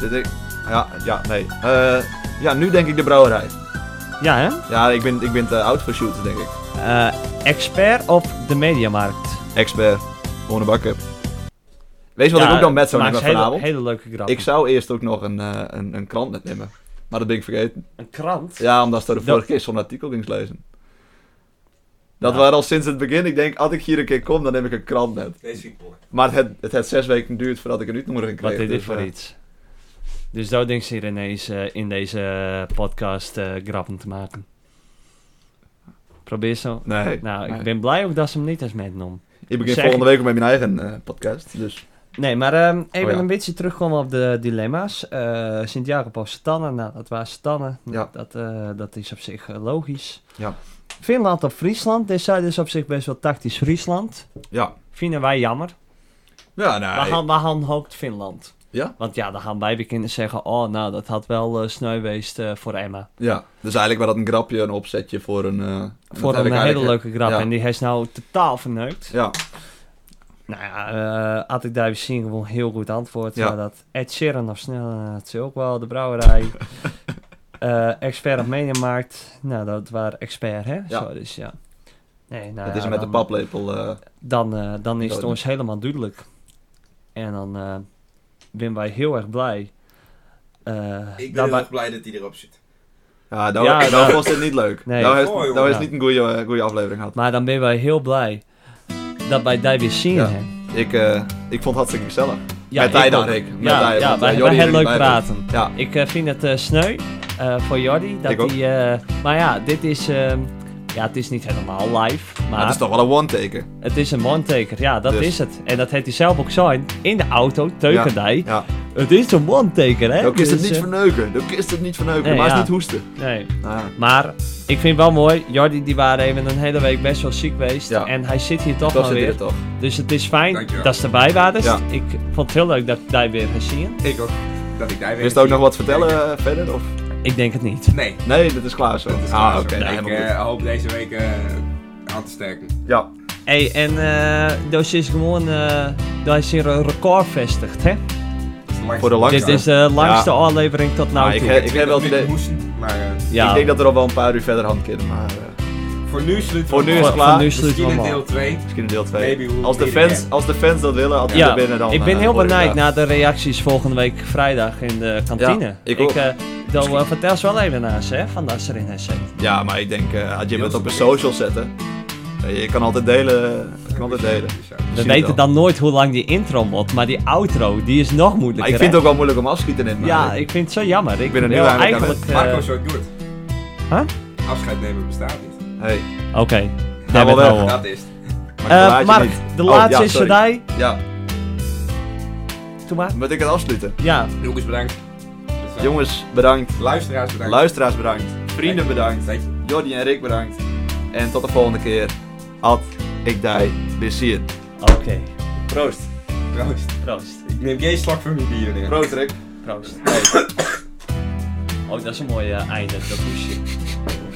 Dit ik... Ja, ja, nee. Eh, ja, nu denk ik de brouwerij.
Ja hè?
Ja, ik ben, ik ben te oud voor shooters, denk ik.
Eh, expert of de mediamarkt?
Expert. Gewoon een bakker. Weet je wat ik
Ja,
ook dan met zou
maakt
nemen
hele-
vanavond?
Hele leuke grap.
Ik zou eerst ook nog een, eh, een, een krant metnemen. Maar dat ben ik vergeten.
Een krant?
Ja, omdat ze de
Dat-
vorige keer zo'n artikel ging lezen. Dat
Ja.
waren al sinds het begin. Ik denk, als ik hier een keer kom, dan neem ik een krant met.
Deze ik mooi.
Maar het, het had zes weken geduurd voordat ik een uitnodiging kreeg.
Wat is dit
dus,
voor
eh,
iets? Dus zo denkt ze hier ineens eh, in deze podcast eh, grappen te maken. Probeer zo.
Nee.
Nou, ik
Nee.
ben blij ook dat ze hem niet als metnom.
Ik begin
Zeg-
volgende week ook met mijn eigen eh, podcast. Dus
Nee, maar ehm, even
Oh ja.
een beetje terugkomen op de dilemma's. Eh Sint-Jacob of Stanne, nou, dat waren Stanne.
Ja.
Dat, eh, dat is op zich eh, logisch.
Ja.
Finland of Friesland, dit zijn dus op zich best wel tactisch Friesland.
ja.
Vinden wij jammer.
Ja,
Waar
nou.
gaan, waar gaan hoopt Finland?
Ja?
Want ja, dan gaan wij beginnen zeggen... Oh, nou, dat had wel eh sneu geweest eh, voor Emma.
Ja. Dus eigenlijk was dat een grapje, een opzetje voor een. eh, dat
voor
heb
een
ik
hele
eigenlijk- eh,
leuke grap.
ja.
En die heeft nou totaal verneukt.
Ja.
Nou ja, eh, had ik daar weer zien gewoon heel goed antwoord.
Ja.
Maar dat Ed Sheeran of snel, eh, dat is ook wel de brouwerij. Eh, expert op Mediamarkt. Nou, dat waren expert, hè?
Ja.
Zo, dus ja. Nee, nou
dat
ja,
is met de
dan-
paplepel. eh,
Dan, eh, dan is
Ja,
het
dat-
ons helemaal duidelijk. En dan eh zijn wij heel erg blij. Eh,
Ik ben
dat
heel
wij-
erg blij dat hij erop zit.
Ja, nou,
Ja,
nou
nou-
was dit niet leuk.
Nee.
nou heeft,
Oh, jongen.
nou heeft
Ja.
niet een goede, eh, goede aflevering gehad.
Maar dan ben wij heel blij dat wij daar weer zien.
Ja.
hè.
Ik, eh, ik vond het hartstikke gezellig. Met
ik
hij dan,
ook.
Rick. Met
ja,
hij,
ja,
want, eh,
wij
Jordi
hebben heel
is er
leuk
niet bij.
praten.
Ja,
Ik eh, vind het eh, sneu eh, voor Jordi. Dat
Ik ook.
hij, eh, maar ja, dit is... ehm, ja, het is niet helemaal live, maar
dat is toch wel een one-taker.
het is een one-taker. Ja, dat
Dus.
is het. En dat heeft hij zelf ook zo in, in de auto, teugendij.
Ja.
Het is een one-taker, hè?
Dan is het
Dus,
niet
eh,
verneuken. Dan is het niet verneuken.
Nee,
maar het
ja.
is niet hoesten.
Nee.
Nou ja.
Maar ik vind wel mooi, Jordi die waren even een hele week best wel ziek geweest.
Ja.
En hij zit hier toch
Dat
wel
zit
weer.
er toch.
Dus het is fijn
Dankjewel.
dat ze erbij waren.
Ja.
Ik vond het heel leuk dat ik daar weer ga zien.
Ik ook. Dat ik daar weer...
Wist ook nog wat vertellen eh, verder? Of?
Ik denk het niet.
Nee.
Nee, dat is klaar zo.
Dat is
ah, oké.
oké.
nou,
ik
helemaal goed.
eh, hoop deze week eh, aan te sterken.
Ja.
Hey, en eh dat is gewoon, eh daar is hier een record vestigd, hè?
Voor de
Dit
langste.
is de langste aflevering tot
Ah,
nou
ik
toe.
heb- ik heb wel het idee.
moesten, maar eh,
ja,
Ik denk dat we er al wel een paar uur verder hand kunnen. Maar eh,
voor nu sluiten
Voor
we
nu
af.
is
voor,
het klaar.
voor nu sluiten we
Misschien in
hem af.
deel 2.
misschien een deel 2.
Maybe we'll
Als de,
meet
fans,
again.
als de fans dat willen, als die
Ja,
er binnen dan.
ik ben
eh,
heel
hoor ik
benieuwd naar
graag.
de reacties volgende week vrijdag in de kantine.
Ja, ik ook.
eh, dan eh, vertel eens wel even naast, hè, van dat ze erin is.
Ja, maar ik denk, eh, als je
Heel
het op een
veel.
social zetten. eh, Je kan altijd delen. eh, Je kan altijd delen.
Dus,
We
Misschien
weten
wel.
dan nooit hoe lang die intro wordt, maar die outro, die is nog
Maar
moeilijker.
Ah, ik vind het
hè?
ook wel moeilijk om afschieten in. maar-
Ja, ik vind het zo jammer. Ik
ben er nu
wil
eigenlijk aan
eigenlijk...
Marco,
eh,
zo doet.
Huh?
Afscheid nemen bestaat niet.
Hey.
Oké.
wel
Neem het
weg.
nou op.
Dat is het.
ik
Eh,
laat je
Mark,
niet.
de
Oh,
laatste
ja,
is
sorry.
voorbij.
Ja,
Doe maar.
moet ik het afsluiten.
Ja,
Jongens, bedankt. Tot zo.
Jongens, bedankt.
Luisteraars, bedankt.
Luisteraars, bedankt. Vrienden, bedankt.
Dank je.
Jordi en Rick, bedankt. En tot de volgende keer. Ad, ik die, we zien. je.
oké.
Proost.
Proost.
Proost.
Ik neem geen slok van mijn bier neer.
Proost, Rick.
eh, Proost. Oh, dat is een mooie einde. Dat moest je.